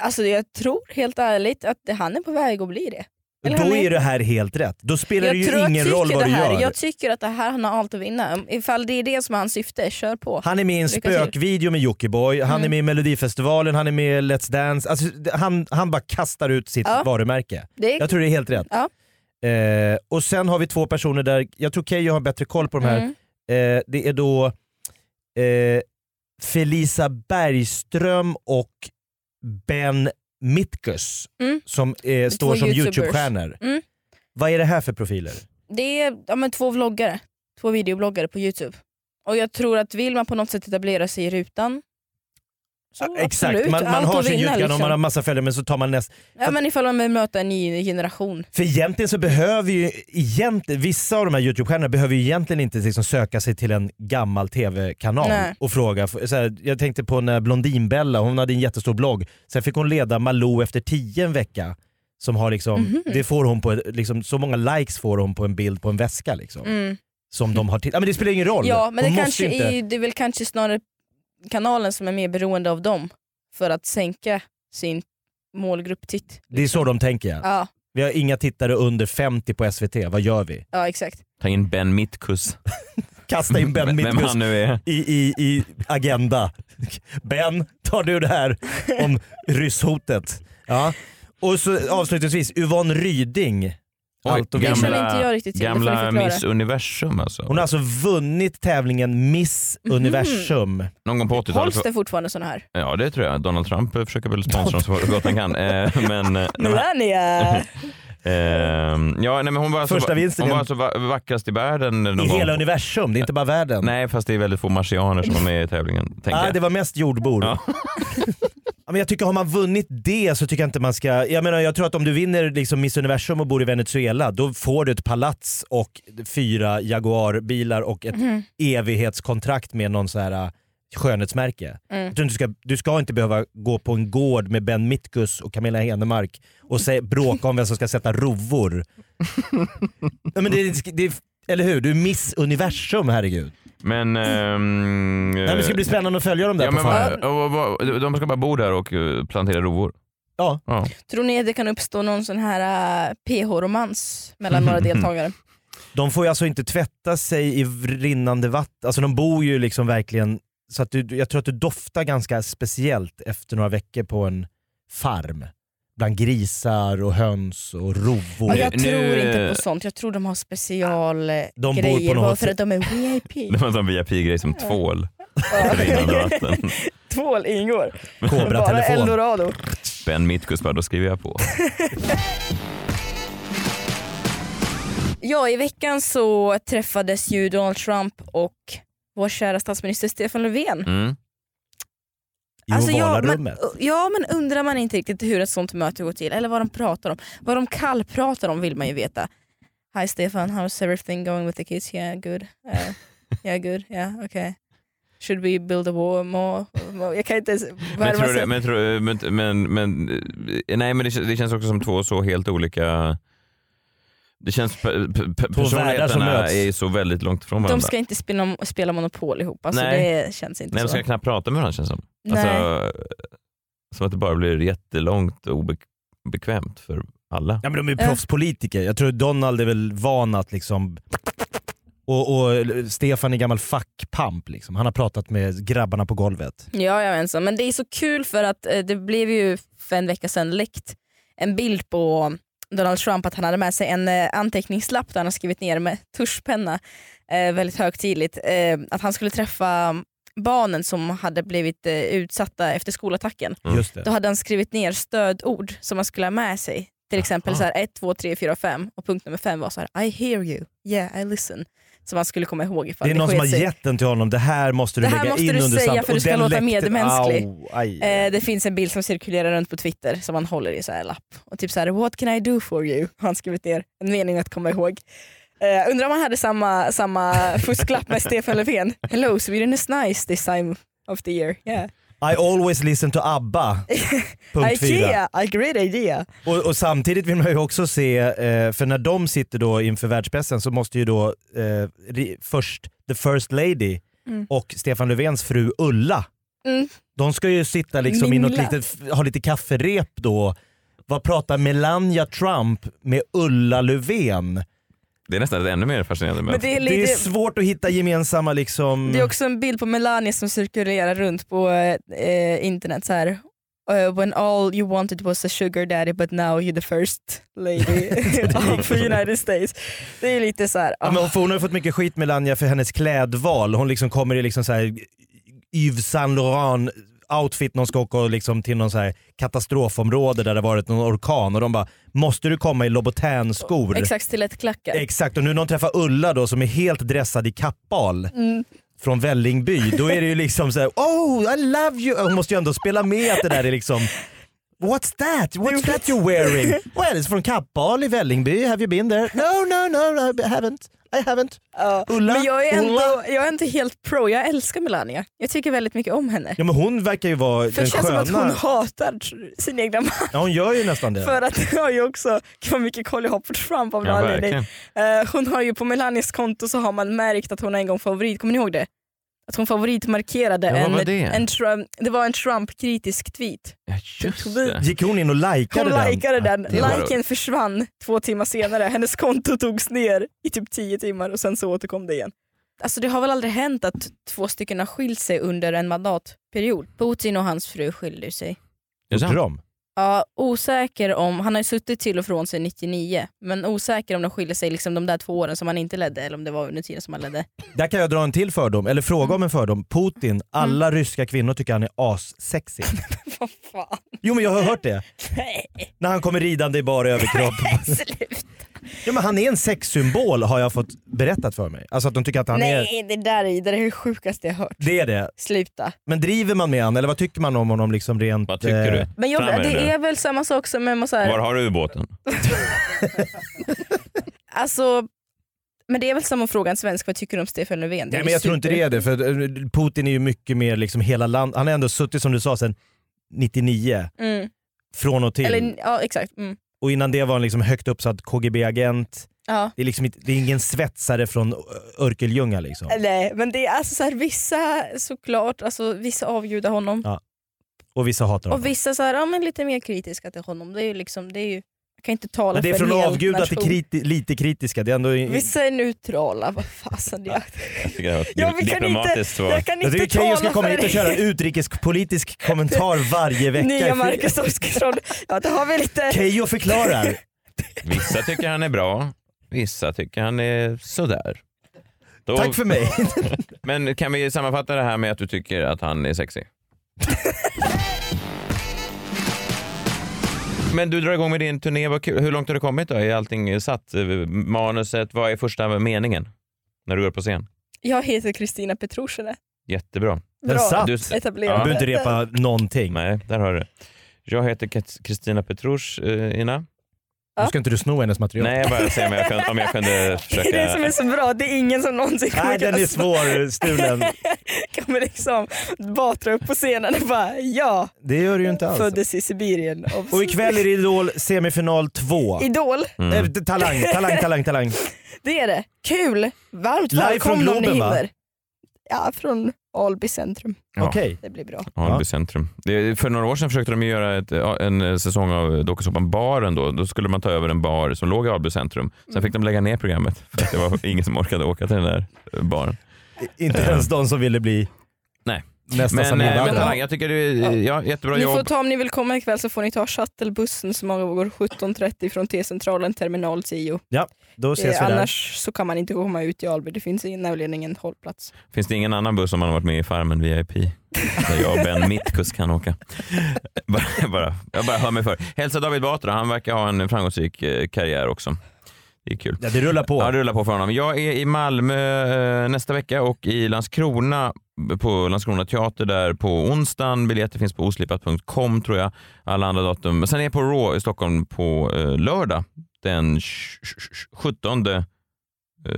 [SPEAKER 6] Alltså jag tror helt ärligt att det- han är på väg att bli det. Eller han
[SPEAKER 5] Då
[SPEAKER 6] är-
[SPEAKER 5] är det här helt rätt. Då spelar det
[SPEAKER 6] jag tror
[SPEAKER 5] ju
[SPEAKER 6] jag
[SPEAKER 5] ingen
[SPEAKER 6] tycker
[SPEAKER 5] roll vad
[SPEAKER 6] det
[SPEAKER 5] du
[SPEAKER 6] här.
[SPEAKER 5] gör.
[SPEAKER 6] Jag tycker att det här han har allt att vinna. Ifall det är det som är hans syfte, kör på.
[SPEAKER 5] Han är med i en
[SPEAKER 6] Lycka till. Mm.
[SPEAKER 5] spökvideo med Jockiboi, han är med i Melodifestivalen, han är med i Let's Dance. Alltså, det- han, han bara kastar ut sitt
[SPEAKER 6] Ja.
[SPEAKER 5] varumärke.
[SPEAKER 6] Det är...
[SPEAKER 5] Jag tror det är helt rätt.
[SPEAKER 6] Ja.
[SPEAKER 5] Eh, och sen har vi två personer där, jag tror Keyyo har bättre koll på de här.
[SPEAKER 6] Mm.
[SPEAKER 5] Eh, det är då eh, Felisa Bergström och Ben Mitkus
[SPEAKER 6] Mm.
[SPEAKER 5] som eh, står som
[SPEAKER 6] YouTubers.
[SPEAKER 5] Youtube-stjärnor.
[SPEAKER 6] Mm.
[SPEAKER 5] Vad är det här för profiler?
[SPEAKER 6] Det är ja, men två vloggare, två videobloggare på Youtube. Och jag tror att vill man på något sätt etablera sig i rutan Så
[SPEAKER 5] Exakt,
[SPEAKER 6] absolut,
[SPEAKER 5] man, man
[SPEAKER 6] allt
[SPEAKER 5] har
[SPEAKER 6] att
[SPEAKER 5] sin
[SPEAKER 6] vinna,
[SPEAKER 5] julgran och
[SPEAKER 6] liksom.
[SPEAKER 5] man har massa följare men så tar man näst.
[SPEAKER 6] Ja men ifall man vill möta en ny generation.
[SPEAKER 5] För egentligen så behöver ju egentligen, vissa av de här YouTube-stjärnorna behöver ju egentligen inte liksom söka sig till en gammal TV-kanal
[SPEAKER 6] Nej.
[SPEAKER 5] och fråga. Så här, jag tänkte på när Blondinbella, hon hade en jättestor blogg. Sen fick hon leda Malou efter tio en vecka. Som har liksom,
[SPEAKER 6] Mhm.
[SPEAKER 5] det får hon på, ett- liksom, så många likes får hon på en bild på en väska. Liksom,
[SPEAKER 6] Mm.
[SPEAKER 5] Som de har till- ja, men Det spelar ingen roll.
[SPEAKER 6] Ja men
[SPEAKER 5] hon
[SPEAKER 6] det,
[SPEAKER 5] måste
[SPEAKER 6] kanske
[SPEAKER 5] ju inte...
[SPEAKER 6] är, det är väl kanske snarare kanalen som är mer beroende av dem för att sänka sin målgrupptitt.
[SPEAKER 5] Det är så de tänker ja.
[SPEAKER 6] Ja,
[SPEAKER 5] Vi har inga tittare under 50 på SVT, vad gör vi?
[SPEAKER 6] ja exakt.
[SPEAKER 4] Ta in Ben Mitkus.
[SPEAKER 5] Kasta in Ben
[SPEAKER 4] Vem- Vem
[SPEAKER 5] Mitkus
[SPEAKER 4] han nu är.
[SPEAKER 5] i, i, i Agenda. Ben, tar du det här om rysshotet? Ja. Och så avslutningsvis, Yvonne Ryding. Allt och
[SPEAKER 4] Oj,
[SPEAKER 6] Det
[SPEAKER 5] gamla-
[SPEAKER 6] känner inte jag riktigt till, det får
[SPEAKER 4] gamla
[SPEAKER 6] ni
[SPEAKER 4] Miss
[SPEAKER 6] förklara.
[SPEAKER 4] Universum alltså.
[SPEAKER 5] Hon har alltså vunnit tävlingen Miss Universum.
[SPEAKER 4] Någon gång på 80-talet.
[SPEAKER 6] Hålls det fortfarande sådana här?
[SPEAKER 4] Ja det tror jag. Donald Trump eh, försöker väl sponsra oss så gott han kan. Eh,
[SPEAKER 6] *laughs*
[SPEAKER 4] Men, eh, nej, men
[SPEAKER 5] *laughs*
[SPEAKER 6] Melania!
[SPEAKER 4] Ehm, ja, nej, men hon var alltså,
[SPEAKER 5] Första vinsten
[SPEAKER 4] hon
[SPEAKER 5] i-
[SPEAKER 4] var alltså va- vackrast i världen. någon
[SPEAKER 5] I
[SPEAKER 4] gång.
[SPEAKER 5] hela universum, det är inte bara världen.
[SPEAKER 4] Nej, fast det är väldigt få marsianer
[SPEAKER 5] *laughs*
[SPEAKER 4] som är med i tävlingen. Tänker
[SPEAKER 5] Ah,
[SPEAKER 4] jag.
[SPEAKER 5] det var mest jordbor.
[SPEAKER 4] Ja.
[SPEAKER 5] *laughs* Ja, men jag tycker har man vunnit det så tycker jag inte man ska... Jag menar jag tror att om du vinner liksom Miss Universum och bor i Venezuela då får du ett palats och fyra Jaguar-bilar och ett evighetskontrakt med någon så här äh, skönhetsmärke. Jag tror inte Du, ska, du ska inte behöva gå på en gård med Ben Mitkus och Camilla Henemark och se, bråka om vem som ska
[SPEAKER 4] *laughs*
[SPEAKER 5] sätta rovor. Nej, men det, det, eller hur? Du är Miss Universum herregud.
[SPEAKER 4] Men... ehm,
[SPEAKER 5] Nej, men det ska bli spännande att följa dem där
[SPEAKER 4] ja,
[SPEAKER 5] på
[SPEAKER 4] men,
[SPEAKER 5] Farmen.
[SPEAKER 4] vad- och, vad- vad- de ska bara bo där och eh, plantera rovor.
[SPEAKER 5] Ja.
[SPEAKER 6] Tror ni att det kan uppstå någon sån här eh, PH-romans mellan
[SPEAKER 5] *laughs*
[SPEAKER 6] några deltagare?
[SPEAKER 5] De får ju alltså inte tvätta sig i rinnande vatten. Alltså de bor ju liksom verkligen... Så att du, du- jag tror att du doftar ganska speciellt efter några veckor på en farm. Bland grisar och höns och rovor.
[SPEAKER 6] Men jag
[SPEAKER 4] Nu-
[SPEAKER 6] tror
[SPEAKER 4] nu-
[SPEAKER 6] inte på sånt, jag tror de har specialgrejer
[SPEAKER 5] bor på
[SPEAKER 6] grejer
[SPEAKER 5] något-
[SPEAKER 6] bara för att de är
[SPEAKER 5] *laughs*
[SPEAKER 6] VIP.
[SPEAKER 4] Det var en sån VIP-grej som tvål.
[SPEAKER 6] Ja.
[SPEAKER 4] Rinnande vatten.
[SPEAKER 6] *laughs* Tvål ingår, bara
[SPEAKER 5] Kobra-telefon.
[SPEAKER 6] eldorado.
[SPEAKER 4] Ben Mitkus bara, då skriver jag på.
[SPEAKER 6] Ja, i veckan så träffades ju Donald Trump och vår kära statsminister Stefan Löfven.
[SPEAKER 4] Mm.
[SPEAKER 5] I ovala
[SPEAKER 6] ja, Alltså, men,
[SPEAKER 5] rummet.
[SPEAKER 6] ja men undrar man inte riktigt hur ett sånt möte går till eller vad de pratar om. Vad de kallpratar om vill man ju veta. Hi Stefan, how's everything going with the kids? Yeah good. Uh, yeah good, yeah okay. Should we build a wall more? more? Jag kan inte ens
[SPEAKER 4] Men,
[SPEAKER 6] värma
[SPEAKER 4] tror
[SPEAKER 6] sig.
[SPEAKER 4] du, men, tror- men, men, men, eh, nej, men det, kän- det känns också som två så helt olika... Det känns... pe- pe- pe-
[SPEAKER 5] världar som
[SPEAKER 4] Personligheterna
[SPEAKER 5] möts.
[SPEAKER 4] är så väldigt långt från varandra.
[SPEAKER 6] De ska inte spela, spela Monopol ihop, alltså
[SPEAKER 4] Nej.
[SPEAKER 6] det känns inte
[SPEAKER 4] Nej, de
[SPEAKER 6] så.
[SPEAKER 4] ska knappt prata med varandra känns det som.
[SPEAKER 6] Nej.
[SPEAKER 4] Alltså, som att det bara blir jättelångt och obekvämt för alla.
[SPEAKER 5] Ja, men de är ju
[SPEAKER 6] Ja.
[SPEAKER 5] proffspolitiker. Jag tror Donald är väl van att liksom... Och, och Stefan är gammal fackpamp. Liksom. Han har pratat med grabbarna på golvet.
[SPEAKER 6] Ja, jag vet så. Men det är så kul för att eh, det blev ju för en vecka sedan läckt en bild på Donald Trump att han hade med sig en eh, anteckningslapp där han har skrivit ner med tuschpenna eh, väldigt högtidligt eh, att han skulle träffa barnen som hade blivit eh, utsatta efter skolattacken.
[SPEAKER 4] Mm.
[SPEAKER 5] Just det.
[SPEAKER 6] Då hade han skrivit ner stödord som han skulle ha med sig. Till exempel så här 1, 2, 3, 4, 5 och punkt nummer 5 var så här I hear you, yeah I listen. Som han skulle komma ihåg ifall
[SPEAKER 5] Det är någon som
[SPEAKER 6] sket
[SPEAKER 5] har
[SPEAKER 6] sig.
[SPEAKER 5] gett den till honom. Det här måste du
[SPEAKER 6] Det här
[SPEAKER 5] lägga
[SPEAKER 6] måste
[SPEAKER 5] in
[SPEAKER 6] du
[SPEAKER 5] under
[SPEAKER 6] säga
[SPEAKER 5] samt-
[SPEAKER 6] för du
[SPEAKER 5] och
[SPEAKER 6] ska
[SPEAKER 5] den
[SPEAKER 6] låta
[SPEAKER 5] läckte-
[SPEAKER 6] medmänsklig.
[SPEAKER 5] Au, aj.
[SPEAKER 6] Eh, det finns en bild som cirkulerar runt på Twitter som han håller i så här lapp. Och typ så här, “What can I do for you?” har han skrivit ner. En mening att komma ihåg. Eh, undrar om han hade
[SPEAKER 5] *laughs*
[SPEAKER 6] samma, samma fusklapp med Stefan Löfven. “Hello, Sweden is nice this time of the year. Yeah.
[SPEAKER 5] I always listen to ABBA.
[SPEAKER 6] *laughs*
[SPEAKER 5] Punkt fyra.
[SPEAKER 6] Eh. Ikea, a great idea.”
[SPEAKER 5] Och, och samtidigt vill man ju också se, eh, för när de sitter då inför världspressen så måste ju då eh, ri- först the first lady och Stefan Löfvens fru Ulla,
[SPEAKER 6] Mm.
[SPEAKER 5] de ska ju sitta liksom i något
[SPEAKER 6] Mingla.
[SPEAKER 5] litet, ha lite kafferep då. Vad pratar Melania Trump med Ulla Löfven?
[SPEAKER 4] Det är nästan ännu mer fascinerande.
[SPEAKER 6] Men det är,
[SPEAKER 5] Det är
[SPEAKER 6] lite,
[SPEAKER 5] svårt att hitta gemensamma liksom...
[SPEAKER 6] det är också en bild på Melania som cirkulerar runt på eh, internet. Så här. Eh, when all you wanted was a sugar daddy but now you're the first
[SPEAKER 5] *laughs*
[SPEAKER 6] lady *laughs* of the United States. Det är lite så här.
[SPEAKER 5] Ja, men hon- för hon har ju fått mycket skit Melania för hennes klädval. Hon liksom kommer i liksom så här Yves Saint Laurent outfit när hon ska åka och liksom till någon så här katastrofområde där det varit någon orkan och de bara “måste du komma i Louboutin-skor?”
[SPEAKER 6] Exakt, stilettklackar.
[SPEAKER 5] Exakt, och nu när hon träffar Ulla då som är helt dressad i kappal från Vällingby, då är det ju liksom så här: oh I love you. Hon måste ju ändå spela med att det där är liksom What's that? What's that you're wearing? Well, it's from Kappahl i Vällingby. Have you been there? No, no, no, no I haven't. I haven't.
[SPEAKER 6] Ja.
[SPEAKER 5] Ulla?
[SPEAKER 6] Men jag är, ändå,
[SPEAKER 5] Ulla?
[SPEAKER 6] jag är inte helt pro, jag älskar Melania. Jag tycker väldigt mycket om henne.
[SPEAKER 5] Ja men hon verkar ju vara
[SPEAKER 6] För
[SPEAKER 5] den
[SPEAKER 6] det känns som
[SPEAKER 5] sköna.
[SPEAKER 6] att hon hatar sin egna man.
[SPEAKER 5] Ja hon gör ju nästan det.
[SPEAKER 6] För att det har ju också, gud vad mycket koll jag har på Trump av någon
[SPEAKER 4] Ja,
[SPEAKER 6] anledning.
[SPEAKER 4] verkligen.
[SPEAKER 6] Eh, hon har ju på Melanias konto så har man märkt att hon har en gång favorit, kommer ni ihåg det? Att hon favoritmarkerade
[SPEAKER 4] Ja, vad var
[SPEAKER 6] en,
[SPEAKER 4] det?
[SPEAKER 6] en Trump, det var en Trump-kritisk tweet.
[SPEAKER 4] Ja, just det.
[SPEAKER 5] Gick hon in och likade
[SPEAKER 6] Hon
[SPEAKER 5] den?
[SPEAKER 6] likade den,
[SPEAKER 4] det var-
[SPEAKER 6] liken försvann två timmar senare, hennes konto togs ner i typ tio timmar och sen så återkom det igen. Alltså det har väl aldrig hänt att två stycken har skilt sig under en mandatperiod. Putin och hans fru skiljer sig.
[SPEAKER 4] Är det sant?
[SPEAKER 5] Gjorde de?
[SPEAKER 6] Ja, osäker om, han har ju suttit till och från sig 99, men osäker om de skiljer sig liksom de där två åren som han inte ledde eller om det var under tiden som han ledde.
[SPEAKER 5] Där kan jag dra en till fördom, eller fråga om en fördom. Putin, alla
[SPEAKER 6] Mm.
[SPEAKER 5] ryska kvinnor tycker han är assexig.
[SPEAKER 6] *laughs* Vad fan?
[SPEAKER 5] Jo men jag har hört det.
[SPEAKER 6] *laughs* Nej,
[SPEAKER 5] När han kommer ridande i bara överkropp.
[SPEAKER 6] slut.
[SPEAKER 5] *laughs* Ja, men han är en sexsymbol har jag fått berättat för mig. Alltså att de tycker att han är...
[SPEAKER 6] Nej, det där är, det där är det sjukaste jag hört.
[SPEAKER 5] Det är det.
[SPEAKER 6] Sluta.
[SPEAKER 5] Men driver man med han eller vad tycker man om honom liksom rent...
[SPEAKER 4] Vad tycker du?
[SPEAKER 6] Men jag,
[SPEAKER 4] Fram med
[SPEAKER 6] det
[SPEAKER 4] nu.
[SPEAKER 6] är väl samma sak som med så
[SPEAKER 4] Var
[SPEAKER 6] här,
[SPEAKER 4] har du ubåten?
[SPEAKER 6] alltså, men det är väl samma fråga en svensk, vad tycker du om Stefan Löfven? Det är
[SPEAKER 5] Nej men jag tror inte det är det för eh, Putin är ju mycket mer liksom hela land... Han har ändå suttit som du sa sedan 99.
[SPEAKER 6] super- Mm.
[SPEAKER 5] Från och till.
[SPEAKER 6] Eller, ja exakt. Mm.
[SPEAKER 5] Och innan det var han liksom högt uppsatt KGB-agent.
[SPEAKER 6] Ja.
[SPEAKER 5] Det är, liksom inte, det är ingen svetsare från Ö- Örkelljunga liksom.
[SPEAKER 6] Nej men det är alltså så här, vissa såklart, alltså, vissa avgudar honom.
[SPEAKER 5] Och vissa hatar honom.
[SPEAKER 6] Och vissa så här, ja, men lite mer kritiska till honom. Det är ju liksom, det är ju, jag kan inte tala
[SPEAKER 5] Men det är
[SPEAKER 6] för en
[SPEAKER 5] från
[SPEAKER 6] hel
[SPEAKER 5] avgudar till
[SPEAKER 6] nation.
[SPEAKER 5] kriti- lite kritiska. Det är ändå...
[SPEAKER 6] Vissa är neutrala, vad fasen. Jag,
[SPEAKER 4] Jag tycker det var ett
[SPEAKER 6] Ja, vi kan
[SPEAKER 4] diplomatiskt svar.
[SPEAKER 6] jag kan
[SPEAKER 5] Jag
[SPEAKER 6] inte
[SPEAKER 5] tycker Keyyo
[SPEAKER 6] tala
[SPEAKER 5] ska komma
[SPEAKER 6] för
[SPEAKER 5] hit och
[SPEAKER 6] *laughs*
[SPEAKER 5] köra en utrikespolitisk kommentar varje *laughs* vecka.
[SPEAKER 6] Nya Marcus Oskarsson. Ja, det har vi lite.
[SPEAKER 4] *laughs*
[SPEAKER 5] Keyyo förklarar.
[SPEAKER 4] Vissa tycker han är bra, vissa tycker han är sådär. Då,
[SPEAKER 5] Tack för mig.
[SPEAKER 4] Men kan vi sammanfatta det här med att du tycker att han är sexy?
[SPEAKER 5] *laughs*
[SPEAKER 4] Men du drar igång med din turné, vad kul. Hur långt har du kommit då? Är allting satt? Manuset, vad är första meningen? När du går upp på scen?
[SPEAKER 6] Jag heter Kristina Petrushina.
[SPEAKER 4] Jättebra.
[SPEAKER 5] Den
[SPEAKER 6] Bra
[SPEAKER 5] satt. Du
[SPEAKER 4] Du-
[SPEAKER 6] etablerat.
[SPEAKER 4] Ja.
[SPEAKER 5] behöver inte repa någonting.
[SPEAKER 4] Nej, där har du det. Jag heter Kat- Kristina eh, Petrushina.
[SPEAKER 5] Nu ska inte du sno hennes material.
[SPEAKER 4] Nej, jag bara säger om jag kunde, om jag kunde
[SPEAKER 6] *laughs* Det
[SPEAKER 4] försöka...
[SPEAKER 6] är det som är så bra, det är ingen som någonsin
[SPEAKER 5] *laughs*
[SPEAKER 6] kommer
[SPEAKER 5] Nej, den är
[SPEAKER 6] kunna
[SPEAKER 5] svårstulen.
[SPEAKER 6] kommer liksom batra upp på scenen och bara ja,
[SPEAKER 5] *laughs* Det gör du ju inte alls.
[SPEAKER 6] föddes i Sibirien. av-
[SPEAKER 5] alltså." Och ikväll är det Idol semifinal 2.
[SPEAKER 6] Idol,
[SPEAKER 4] Mm.
[SPEAKER 5] Eh, talang, talang, talang, talang.
[SPEAKER 6] det är det. Kul! Varmt
[SPEAKER 5] Live
[SPEAKER 6] välkomna
[SPEAKER 5] från
[SPEAKER 6] om ni
[SPEAKER 5] Globen, va?
[SPEAKER 6] hinner. Ja, från Alby centrum.
[SPEAKER 4] Ja.
[SPEAKER 5] Okej.
[SPEAKER 6] Det blir bra.
[SPEAKER 4] Alby
[SPEAKER 5] Ja.
[SPEAKER 4] centrum. Det, för några år sedan försökte de ju göra ett, ja, en eh, säsong av dokusåpan Baren. Då. då skulle man ta över en bar som låg i Alby centrum. Sen fick de lägga ner programmet för att det var *laughs* ingen som orkade åka till den där eh, baren.
[SPEAKER 5] Inte ens de som ville bli
[SPEAKER 4] Nej.
[SPEAKER 5] nästa
[SPEAKER 4] Men, eh, men
[SPEAKER 5] Samir
[SPEAKER 4] talang, jag tycker det är ja, jättebra
[SPEAKER 6] Ni får
[SPEAKER 4] jobb.
[SPEAKER 6] ta, om ni vill komma ikväll så får ni ta shuttlebussen som går 17.30 från T-centralen terminal 10.
[SPEAKER 5] Ja, då ses
[SPEAKER 6] Eh,
[SPEAKER 5] vi där.
[SPEAKER 6] annars så kan man inte komma ut i Alby, det finns i nämligen ingen hållplats. *laughs*
[SPEAKER 4] Finns det ingen annan buss som man har varit med i Farmen VIP? Där jag och
[SPEAKER 6] *laughs*
[SPEAKER 4] Ben Mittkus kan åka. *laughs* Bara, bara, jag bara hör mig för. Hälsa David Batra, han verkar ha en framgångsrik eh, karriär också. Det är kul.
[SPEAKER 5] Ja, det rullar på.
[SPEAKER 4] Ja, det rullar på för honom. Jag är i Malmö eh, nästa vecka och i Landskrona på Landskrona Teater där på onsdagen. Biljetter finns på oslipat.com tror jag. Alla andra datum. Men Sen är jag på Raw i Stockholm på eh, lördag den 17, eh,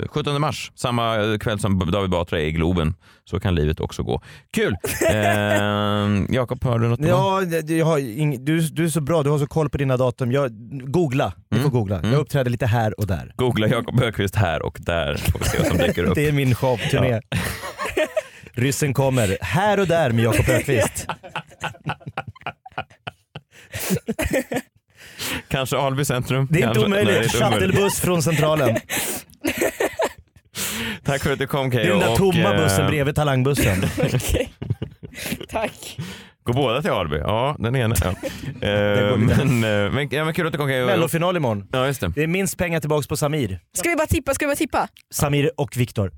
[SPEAKER 4] 17 mars. Samma eh, kväll som David Batra är i Globen. Så kan livet också gå.
[SPEAKER 5] *laughs*
[SPEAKER 4] Kul! Eh, Jakob, har du något?
[SPEAKER 5] Ja, det- jag har ing, du, du är så bra, du har så koll på dina datum. Jag, googla, du
[SPEAKER 4] Mm.
[SPEAKER 5] får googla.
[SPEAKER 4] Mm.
[SPEAKER 5] Jag uppträder lite här och där.
[SPEAKER 4] Googla Jakob Högqvist här och där får vi se vad som dyker upp.
[SPEAKER 5] Det är min showturné. *laughs* Ryssen kommer, här och där med Jakob Högqvist.
[SPEAKER 4] Kanske Alby centrum.
[SPEAKER 5] Det är inte
[SPEAKER 4] Kanske- Nej, det är
[SPEAKER 5] omöjligt.
[SPEAKER 4] inte omöjligt.
[SPEAKER 5] Shuttlebuss från Centralen.
[SPEAKER 4] Tack för att du kom Keyyo.
[SPEAKER 5] Det är den där
[SPEAKER 4] och,
[SPEAKER 5] tomma
[SPEAKER 4] eh,
[SPEAKER 5] bussen bredvid talangbussen. *laughs*
[SPEAKER 6] Okej. Tack.
[SPEAKER 4] Går båda till Alby? Ja, den ena.
[SPEAKER 5] *laughs*
[SPEAKER 4] Ja. Eh,
[SPEAKER 5] går vidare.
[SPEAKER 4] men, eh, men, *laughs* ja, men kul att du kom Keyyo.
[SPEAKER 5] Mellofinal imorgon.
[SPEAKER 4] Ja, just det.
[SPEAKER 5] Det är minst pengar tillbaks på Samir.
[SPEAKER 6] Ska vi bara tippa? Ska vi bara tippa?
[SPEAKER 5] Samir och Viktor.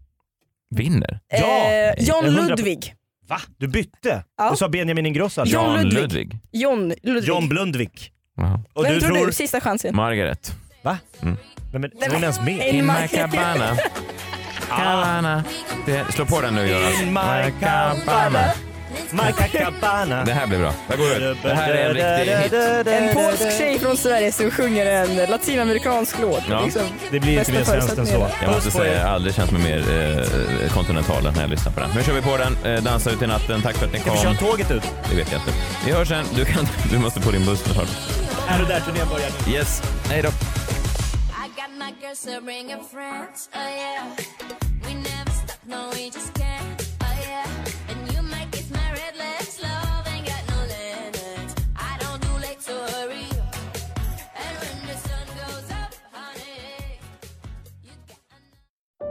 [SPEAKER 4] Vinner?
[SPEAKER 5] Ja!
[SPEAKER 6] eh, John
[SPEAKER 5] 100
[SPEAKER 6] Ludvig.
[SPEAKER 5] Va? Du bytte?
[SPEAKER 6] Ja.
[SPEAKER 5] Du sa Benjamin Ingrosso alltså.
[SPEAKER 6] John
[SPEAKER 4] Jan
[SPEAKER 6] Ludvig.
[SPEAKER 4] Ludvig.
[SPEAKER 6] John Ludvig.
[SPEAKER 5] John Blundvik.
[SPEAKER 4] Wow.
[SPEAKER 5] Och
[SPEAKER 6] Vem
[SPEAKER 5] du
[SPEAKER 6] tror
[SPEAKER 5] tror...
[SPEAKER 6] du? Sista chansen.
[SPEAKER 4] Margaret.
[SPEAKER 5] Va?
[SPEAKER 4] Mm.
[SPEAKER 5] Nej men, var hon ens med?
[SPEAKER 4] In my cabana. Cabana. Det, slå på den nu Göran.
[SPEAKER 5] My cabana. My cabana.
[SPEAKER 4] Det här blir bra. Det, går ut. det här är en riktig hit.
[SPEAKER 6] En polsk tjej från Sverige som sjunger en latinamerikansk låt.
[SPEAKER 4] Ja.
[SPEAKER 6] Liksom.
[SPEAKER 5] Det blir inte
[SPEAKER 6] Bästa
[SPEAKER 5] mer svenskt än så.
[SPEAKER 6] förutsättningarna.
[SPEAKER 4] Jag måste
[SPEAKER 5] Puss på er.
[SPEAKER 4] säga, jag har aldrig känt mig mer eh, kontinental än när jag lyssnar på den. Nu kör vi på den, eh, dansar ut i natten. Tack för att ni
[SPEAKER 5] Ska vi
[SPEAKER 4] kom.
[SPEAKER 5] köra tåget ut?
[SPEAKER 4] Det vet jag inte. Vi hörs sen. Du, kan, du måste på din buss snart.
[SPEAKER 5] Är du där turnén börjar?
[SPEAKER 4] Yes, hej då.
[SPEAKER 8] I got my girls to bring her friends, oh yeah. We never stop, no, we just can't, oh yeah. And you might kiss my red lips, love ain't got no limits. I don't do late, so hurry up. And when the sun goes up, honey, you got